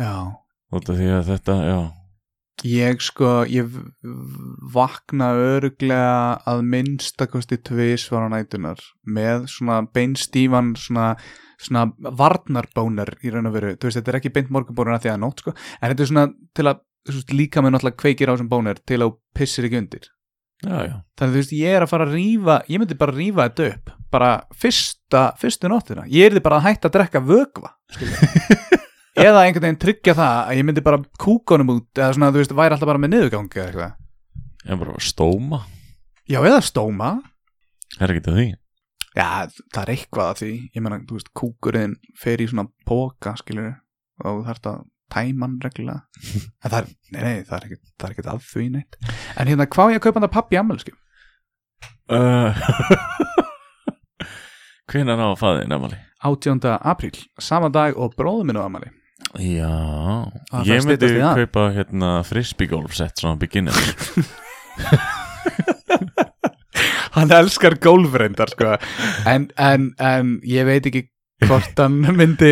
já.
Út af því að þetta, já,
Ég sko, ég v- vakna öruglega að minnstakosti tvisvar á nætunar með svona beinstífan svona, svona varnarbónar í raun og veru, þú veist, þetta er ekki beint morgunbónar að því að það er nótt sko, en þetta er svona til að þú veist, líka með náttúrulega kveikir á þessum bónar til að þú pissir ekki undir
já, já,
þannig að þú veist, ég er að fara að rífa ég myndi bara að rífa þetta upp bara fyrsta, fyrstu nóttina, ég er bara að hætta að drekka vögva skilurðu. eða einhvern veginn tryggja það að ég myndi bara kúka honum út eða svona, þú veist, væri alltaf bara með niðurgangi eða eitthvað
en bara stóma,
já, eða stóma,
það er ekki það því.
já, það er eitthvað að því ég meina, þú veist, kúkurinn fer í svona póka, skiljur og þú þarft að tæma hann reglulega en það er, nei, nei, það er ekkert, það er ekkert að því neitt en hérna, hvað á ég að kaupa hann að pappi ammælisku?
Uh, Hvenær á að faði þið nefnali?
18. apríl, sama dag og bróðum minn á ammæli
Já,
Það þarf að
ég myndi
styttast í það.
kaupa hérna frisbeegolfsett svona beginner.
hann elskar gólfreyndar sko. en, en, en ég veit ekki hvort hann myndi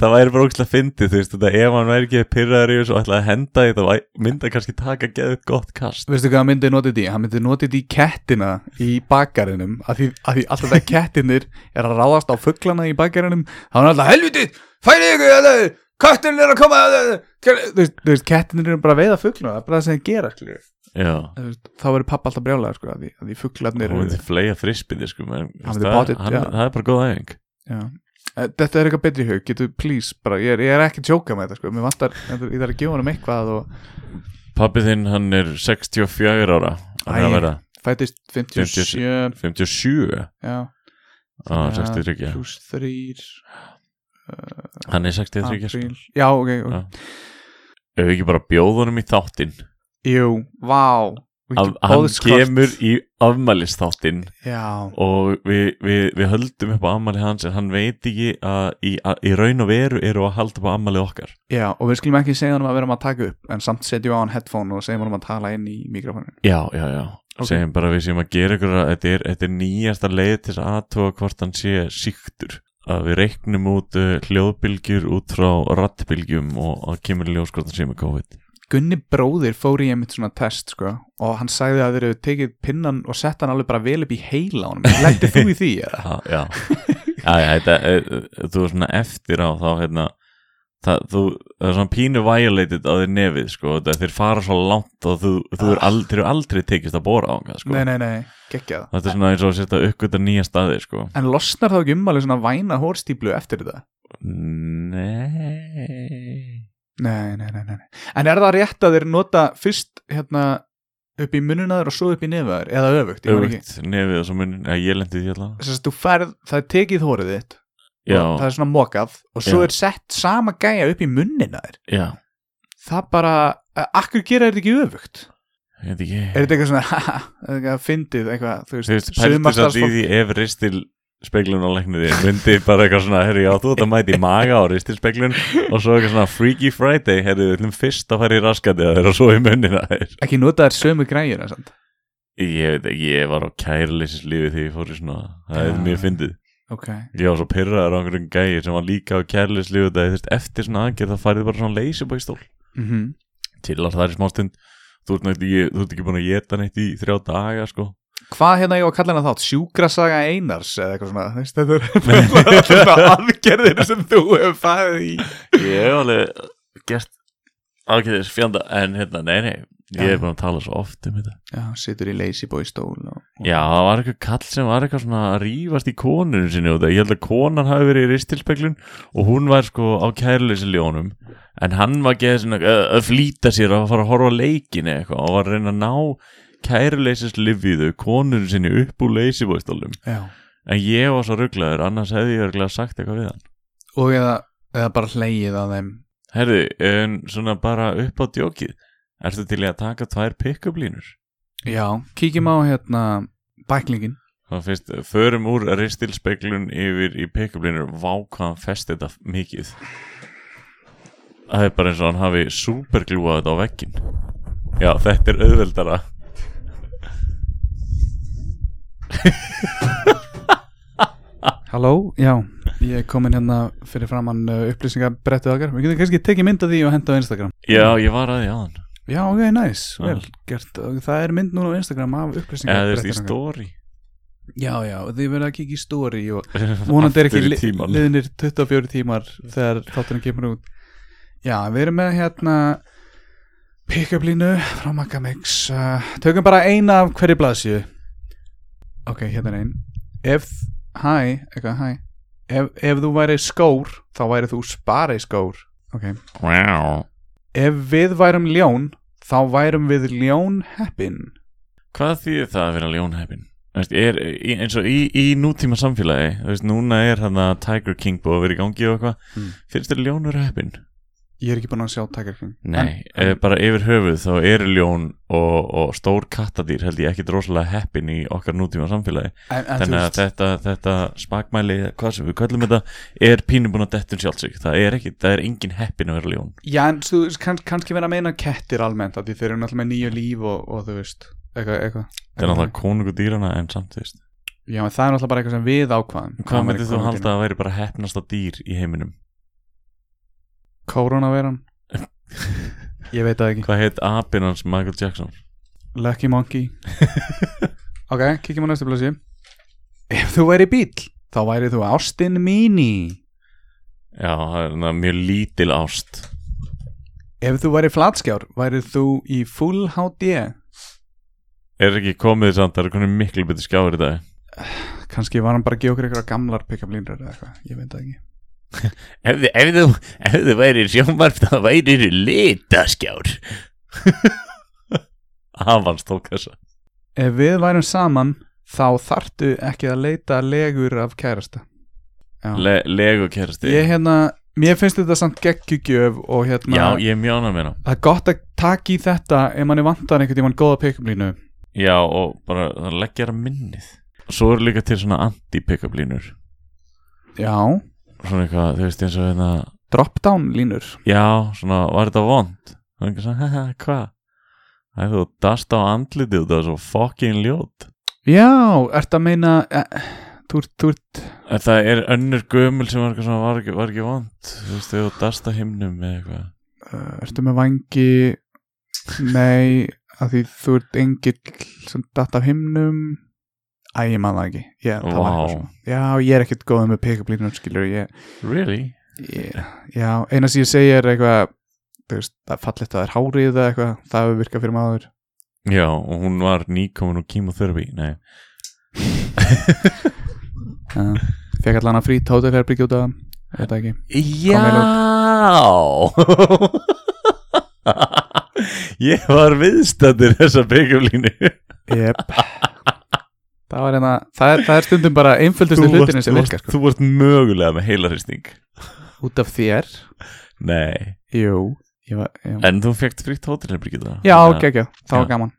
það væri bara ógslag fyndið, þú veist, þetta ef hann væri ekki pyrraður í þessu og ætlaði að henda því, þá væ- myndi hann kannski taka geðið gott kast.
veistu hvað hann myndi notið í? hann myndi notið í kettina í bakarinum af því, af því alltaf það kettinir er að ráðast á fugglana í bakarinum þá er hann alltaf helvitið, færi ykkur þetta, köttin er að koma þetta, kel-" þú veist, þú veist, kettinir eru bara að veiða fugglana það er bara það sem þeir gera skilur.
Já.
Þú veist, þá verður pappa alltaf brjálega sko, af því, af því fugglarnir
Hún
eru
myndi flega frisbyndi sko menn,
Hann myndi
það,
pottit,
hann,
já.
það er bara góð æfing
Já. Eh, Þetta er eitthvað betri í hug, getur please bara, ég, er, ég er ekki að jóka með þetta sko, mér vantar, þetta- ég þarf að gefa honum eitthvað og
Pappi þinn hann er 64 ára Hann
Æ.
er að vera
fættist 57,
57
já,
á 63 já.
pluss 3,
Hann er 63 sko.
apríl, já ok, ok,
Já. Ef við ekki bara bjóðunum í þáttinn
jú, vá, Við
að
getum
Hann
boðskort.
kemur í afmælis þáttinn
já,
Og við, við, við höldum upp á afmæli hans En hann veit ekki að í, að í raun og veru Eru að halda upp á afmæli okkar
já, og við skulum ekki segja honum að vera maður að taka upp, en samt setjum við á hann headphone og segjum honum að tala inn í mikrofónu,
Já, já, já
Ok.
Segjum bara að við séum að gera ykkur að þetta er, þetta er nýjasta leið til að aðtóa hvort hann sé síktur að við reiknum út uh, hljóðbylgjur út frá rattbylgjum og að kemur í ljós hvort hann sé með COVID
Gunni bróðir fór í einmitt svona test sko, og hann sagði að þeir eru tekið pinnan og sett hann alveg bara vel upp í heila honum, lætti þú í því eða?
eh, ha, Já, já, já, þetta, uh, þú er svona eftir á þá hérna það, þú, það er svona pínu violated á þér nefið sko, þegar þeir fara svo langt og þú, þú er aldrei, aldrei tekist að bóra á hann sko.
Nei, nei, nei, geggjað
þetta er svona eins og að setja uppgöta nýja staði sko.
En losnar þá ekki ummæli svona væna hórstíplu eftir þetta?
nei
Nei, nei, nei, nei. nei. En er það rétt að þeir nota fyrst hérna upp í munnaður og svo upp í nefaður eða öfugt, ég veit ekki.
öfugt nefið og svo munin, ja, ég lendi í því alltaf
Þess að þú færð, það er tekið hórið þitt og það
já,
er svona mokað og svo
Já.
er sett sama gæja upp í munninaður.
já,
Það bara, eh, akkur gera þetta ekki öfugt?
ég veit ekki
Er þetta eitthvað svona, haha, er þetta eitthvað fyndið, eitthvað, þú
Þú
veist,
veist, pæltu satt í
sumarstarfsfólk-
því ef ristil speglun á læknir þig myndi bara eitthvað svona, herru, já, þú ert að mæta í maga á ristil speglun og svo eitthvað svona Freaky Friday, herru, við ætlum fyrst að fara í raskatið að þeirra og svo í munnina þeir
ekki nota þær sömu græjuna samt.
Ég veit ekki, ég var á kærleisis lífi þegar ég fór í svona, það er
Já.
mjög fyndið
Ok,
Ég var svo pyrraður á einhverjum gæi sem var líka á kærleisis lífi þegar þú veist, eftir svona aðgerð það farið bara svona leysibækstól
mhm,
Tillar það er smá stund, þú ert, nú ekki, þú ert ekki búin að geta neitt í þrjá daga, sko
Hvað hérna ég var að kalla hana þátt? Sjúkrasaga Einars eða eitthvað svona, veist, þetta er alltaf svona aðgerðir sem þú hefur fæðið í.
Ég hef alveg gert ákveðis fjanda en hérna, nei, nei, ég hef búin að tala svo oft um þetta.
Já, situr í lazyboy stól og...
Já, það var eitthvað kall sem var eitthvað svona að rífast í konunum sinni og það, ég held að konan hafi verið í ristilspeglun og hún var sko á kærleysi ljónum en hann var geðið svona að, að flýta sér að fara að horfa á leikin eða eitthvað og var að reyna að ná kærleysis lifiðu konunum sinni upp úr leysibóðstólum
Já.
en ég var svo rugglaður, annars hefði ég örgulega sagt eitthvað við hann.
Og eða, eða bara hleyið að þeim
Herðu, en svona bara upp á djókið Ertu til í að taka tvær pick-up línur?
Já, kíkjum á hérna bæklingin
Þá fyrst, förum úr ristilspeglun yfir í pick-up línur Vá hvað hann festi þetta mikið Það er bara eins og hann hafi superglúað þetta á veggin Já, þetta er auðveldara
Halló, já Ég er komin hérna fyrir framann uh, upplýsingabrettið okkar Við getum kannski tekið mynd af því og henda á Instagram
Já, ég var að því áðan
Já, ok, næs,
Já.
vel gert Og Það er mynd núna á Instagram af
Eða þú veist, í
upplýsingabrettið
story
Já, já, þið verða að kíkja í story og vonandi er ekki
Aftur í
li-
tímann. Mm.
liðnir 24 tímar þegar þátturinn kemur út já, við erum með hérna pick-up línu frá Magamix uh, tökum bara eina af hverju blaðsíu ok, hérna er ein ef, hæ, eitthvað, hæ ef, ef þú væri skór, þá væri þú spari skór ok,
Wow.
ef við værum ljón þá værum við ljón heppin
Hvað þýðir það að vera ljónheppin? Þú veist, Er, í- eins og í, í nútíma samfélagi þú veist, Núna er hann að Tiger King búið að vera í gangi og eitthvað
Mm.
Finnst þér ljónur heppin?
ég er ekki búin að sjá takarking
Nei, en, eh, bara yfir höfuð þá eru ljón og, og stór kattadýr held ég ekki drosalega heppin í okkar nútíma samfélagi
en, en,
Þannig að
þetta
þetta, þetta spakmæli, hvað sem við köllum þetta er pínu búin að dettun sjálfsög Það er ekki, það er engin heppin að vera ljón
Já, en þú veist, kann, kannski verða að meina kettir almennt af því þeir eru náttúrulega með nýju líf og, og þú veist, eitthvað, eitthvað.
Það er náttúrulega konungu dýrana en samt þú veist
Já, en það er náttúrulega bara eitthvað sem við ákvaðum.
Hvað myndir þú halda að væri bara heppnasta dýr í heiminum?
Koronaveran? Ég veit það ekki.
Hvað heit apinn hans Michael Jackson?
Lucky Monkey. ok, kíkjum á næstu plassi. Ef þú væri bíl, þá væri þú Austin Mini.
Já, það er svona mjög lítil ást
Ef þú væri flatskjár, væri þú í Full HD.
Er ekki komið samt, það er konum miklu betur skjáður í dag
Kannski var hann bara að gefa okkur eitthvað gamlar pick-up línur eða eitthvað, ég veit það ekki.
Ef, ef, þú, ef þú væri sjónvarp þá væri þú litaskjár Afans tók þessa
Ef við værum saman þá þartu ekki að leita legur af kærasta Já.
Le, Lego kærasti
Ég hérna, mér finnst þetta samt geggjugjöf og hérna,
Já, ég mjána með hana
það er gott að taka í þetta ef manni vantar einhvern tímann góða pick-up línu
Já, og bara það leggja hana minnið Svo eru líka til svona anti-pickup línur
Já,
Svona eitthvað, þú veist eins og hérna
drop-down línur
Já, svona, var þetta vond? Það er ekki svona, haha, hvað? Það er þú dast á andlitið og það er svo fucking ljót
Já, ert að meina eh, þú ert, þú ert
En það er önnur gömul sem var eitthvað svona, var ekki, var ekki vond Þú veist, þau dast á himnum eða eitthvað
uh, ertu með vangi Nei, af því þú ert engill sem datt af himnum Æ, ég man það ekki ég, það var
Vá.
eitthvað svona. Já, ég er ekkert góð með pick-up línur skilur, ég
Really?
Ég- Já, eina sem ég segi er eitthvað þú veist, það er fallegt að það er hárið eða eitthvað, það hefur virkað fyrir maður
Já, og hún var nýkomin og kímoþörfi Nei,
uh, Fekk allan að frýt hótelherbyggi út af það, ég veit það ekki
Já Ég var viðstættur þessa byggumlínu
yep. það, var einna, það, er, það er stundum bara einföldustu hlutinu sem virkar sko.
Þú vart mögulega með heilaristning
Út af þér,
Nei,
jú ég var, ég,
en þú fekkt frítt hótelherbyggjum það
Já, ok, ok, það var
Já.
gaman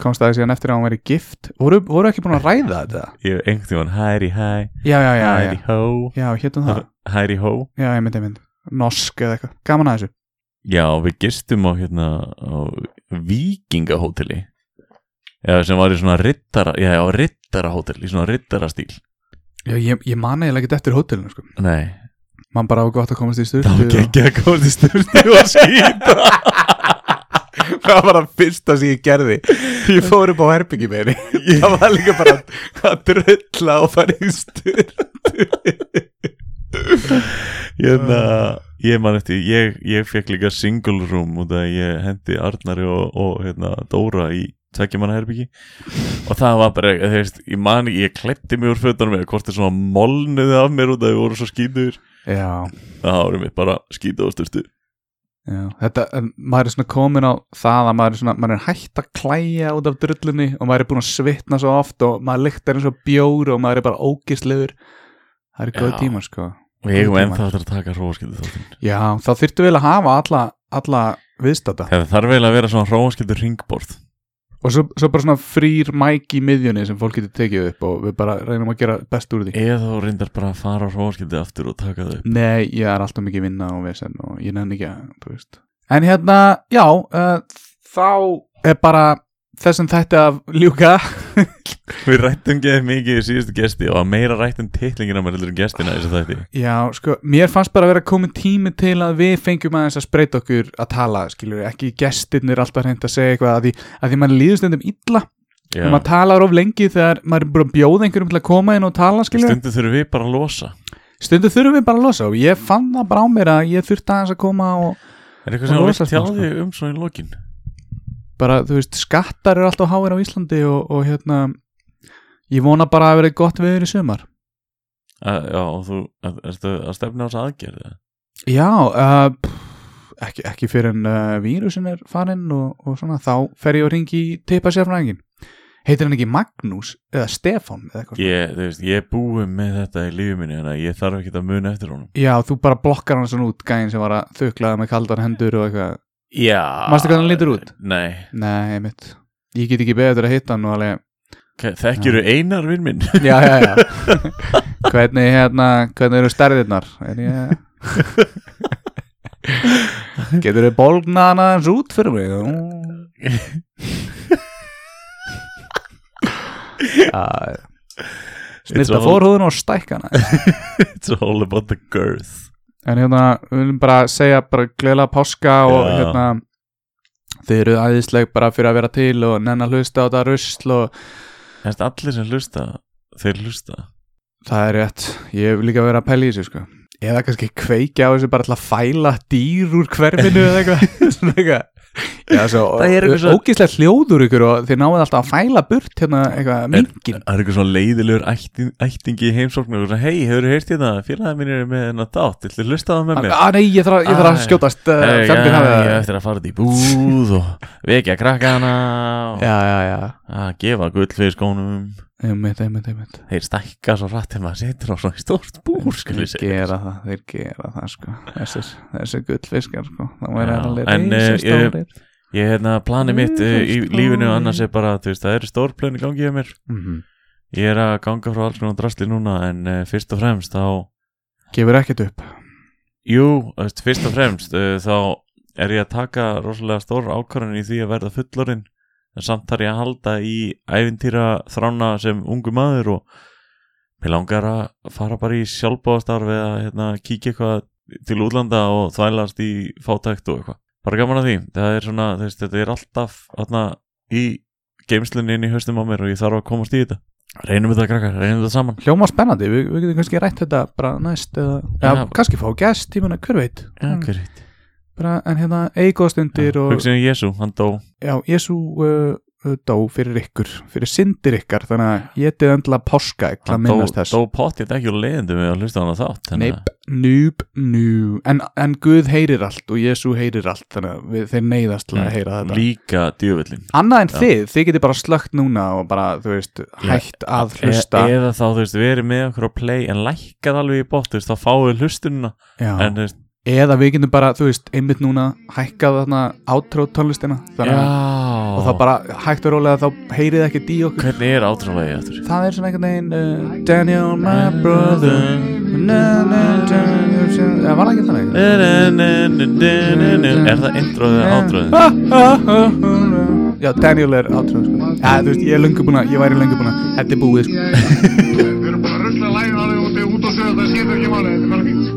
Komst það síðan eftir að hún væri gift Voru, voru ekki búin að ræða þetta?
Ég hef einhvern tímann hæri hæ,
Já, já, já, já,
hæri hó
já hétum það
Hæri hó
Já, ég myndi, ég myndi, norsk eða eitthvað Gaman að þessu
Já, við gistum á hérna á vikingahóteli Já, sem var í svona rittara, já, já, rittarahótel í svona rittarastíl
Já, ég, ég man eiginlega ekki eftir hótelinu sko.
Nei,
Man bara á gott að komast í sturtu
það var ekki að komast í sturtu og skýta
það var það fyrsta sem ég gerði Ég fór upp á herbyggi með henni Það var líka bara að drölla og fara í styr
Hérna, ég man eftir, ég, ég fekk líka single room út að ég hendi Arnari og, og hérna, Dóra í tvekkjumannaherbyggi og það var bara, þú veist, ég man, ég klepti mig úr fötunum eða hvort er svona molnuði af mér út að við vorum svo skýtur
Já,
það vorum við bara skýta á sturtu
já Þetta, en maður er svona komin á það að maður er, svona, maður er hægt að klæja út af drullunni og maður er búin að svitna svo oft og maður lyktar eins og bjór og maður er bara ógislegur Það eru góð
Já.
tíma sko
og ég hef
Tímar.
ennþá eftir að taka hróaskildu þáttinn
Já, þá þyrftu vel að hafa alla, alla viðstata
það þarf eiginlega að vera svona hróaskildu ringborð
Og svo, svo bara svona frýr mæk í miðjunni sem fólk getur tekið upp og við bara reynum að gera best úr því
eða þú reyndar bara að fara á hróaskildu aftur og taka þau
Nei, ég er alltaf mikið vinna og vesen og ég nefn ekki að, þú veist En hérna, já, uh, þá er bara þessum þætti af ljúka
Við rættum geðið mikið í síðustu gesti og að meira rættum titlingina mér heldur en gestina í þessu þætti.
Já, sko, mér fannst bara að vera komin tími til að við fengjum aðeins að spreita okkur að tala, skilur við, ekki gestirnir alltaf reynd að segja eitthvað að því, að því mann líður stundum illa,
Já,
yeah. maður talar of lengi þegar maður er bara að bjóða einhverjum til að koma inn og tala, skilur við
stundum þurfum við bara að losa.
Stundu þurfum við bara að losa og ég fann það bara á mér að ég þurfti aðeins að koma og
Er
Og
eitthvað sem þú
losa
vilt
smá,
tjáði um svo í lokin?
bara, þú veist, skattar eru alltaf háir á Íslandi og, og hérna ég vona bara að verið gott veður í sumar
Að- Já, og þú, að- ertu að stefna á þessa aðgerði?
Já, uh, pff, ekki, ekki fyrir en uh, vírusin er farinn og, og svona, þá fer ég og ringi í teipa sérfræðingin heitir hann ekki Magnús eða Stefán eða eitthvað
Ég, þú veist, ég búið með þetta í lífið minni en ég þarf ekki að muna eftir honum.
Já, þú bara blokkar hann svona út gæðin sem var að þuklaða með kaldar hendur og eitthvað
Já.
Manstu hvernig hann lítur út?
Nei.
Nei, einmitt Ég get ekki beðið að hitta hann og alveg
Þekkiru einar vinn minn?
já, já, já hvernig hérna, hvernig eru stærðirnar en ég getur þau bólgnað hann aðeins út fyrir mig Ú. já
It's
snilta
all-
fórhúðun og stækka hana
It's all about the girth.
en hérna, við viljum bara segja bara gleðilega páska og
Já.
hérna þið eru æðisleg bara fyrir að vera til og nenn að hlusta á þetta rusl og
Þess að allir sem hlusta, þeir hlusta.
Það er rétt, ég hef líka verið að pæla í þessu sko Eða kannski kveikja á þessu bara til að fæla dýr úr hverfinu eða eitthvað Svona eitthvað Já, svo,
Það er eitthvað svo-
ógislega hljóður ykkur og þið náðu alltaf að fæla burt hérna eitthvað mingin
Það er eitthvað svona leiðilegur ætting, ættingi í heimsóknu og svona, hei, hefur þú heyrt hérna, félagið mín er með hennar dát, ætlu að hlusta það með mér?
Ah, nei, ég þarf, að- ég þarf að
Æ.
skjótast uh,
Hey, já,
fjandinn hafið
ég
það
hef eftir að fara út í búð og vekja krakkana og
Já, já, já,
að gefa gull fyrir skónum
einmitt, einmitt, einmitt
þeir stækka svo rætt þegar maður setur á svona stórt búr skal við
Þeir
segja
gera það, þeir gera það sko Þessir, þessir gullfiskar sko Það
Já,
væri alveg
en, eh,
reysið
ég-
stórir
ég hérna planið mitt uh, í lífinu annars er bara þú veist það eru stór plöni gangið mér
Mhm.
ég er að ganga frá alls konar drastli núna en uh, fyrst og fremst þá
Gefur ekkert upp
jú þú veist, fyrst og fremst uh, þá er ég að taka rosalega stór ákvarðan í því að verða fullorinn en samt þarf ég að halda í ævintýra þrána sem ungu maður og Mér langar að fara bara í sjálfbóðastarf eða hérna, kíkja eitthvað til útlanda og þvælast í fátækt og eitthvað. Bara gaman að því. Það er svona, þú veist, þetta er alltaf hérna, í geimslunni inn í haustum á mér og ég þarf að komast í þetta. reynum við það krakkar, reynum við það saman
Hljóma spennandi, við, við getum kannski rætt þetta bara næst eða,
Já.
eða kannski fá gest, ég meina, hver veit
Já,
En-
hver veit
bara, En hérna, eigóðstundir Mm. og
Hugsin í Jésu, hann dó
Já, Jésu uh, uh, dó fyrir ykkur, fyrir syndir ykkar Þannig að ég getið endla páska til að
Hann dó,
minnast þess
dó pottið ekki úr leiðindum við að hlusta hann að þátt eh, þannig að-
Neip, njúb, njú en, en Guð heyrir allt og Jésu heyrir allt Þannig að við, þeir neyðast til að heyra þetta
Líka djöfullin
Annað en
Mm. Já.
þið, þið getið bara slögt núna og bara, þú veist, hægt að hlusta
e Eða þá þú veist, verið með okkur á play en lækkað alveg í bótt, þú veist, þá fáið þið hlustunina
Já.
e- en þú veist,
eða við getum bara, þú veist, einmitt núna hækkað þarna átrá tónlistina þannig að
já
og það bara hægt og rólega þá heyrið ekki í okkur
Hvernig er átrúlega aftur?
það er svona einhvern veginn uh, Daniel my brother na, na, Daniel, eða var það ekki þannig?
Eh. Er það introðið eða átrúðið?
átrúðin já, Daniel er átrúð sko. ja, þú veist, ég er löngu búin að, ég væri löngu búin að þetta er búið, sko.
Við erum bara að rusla lægin alveg út, út og sögða, það skiptir ekki máli, þetta er bara fínt.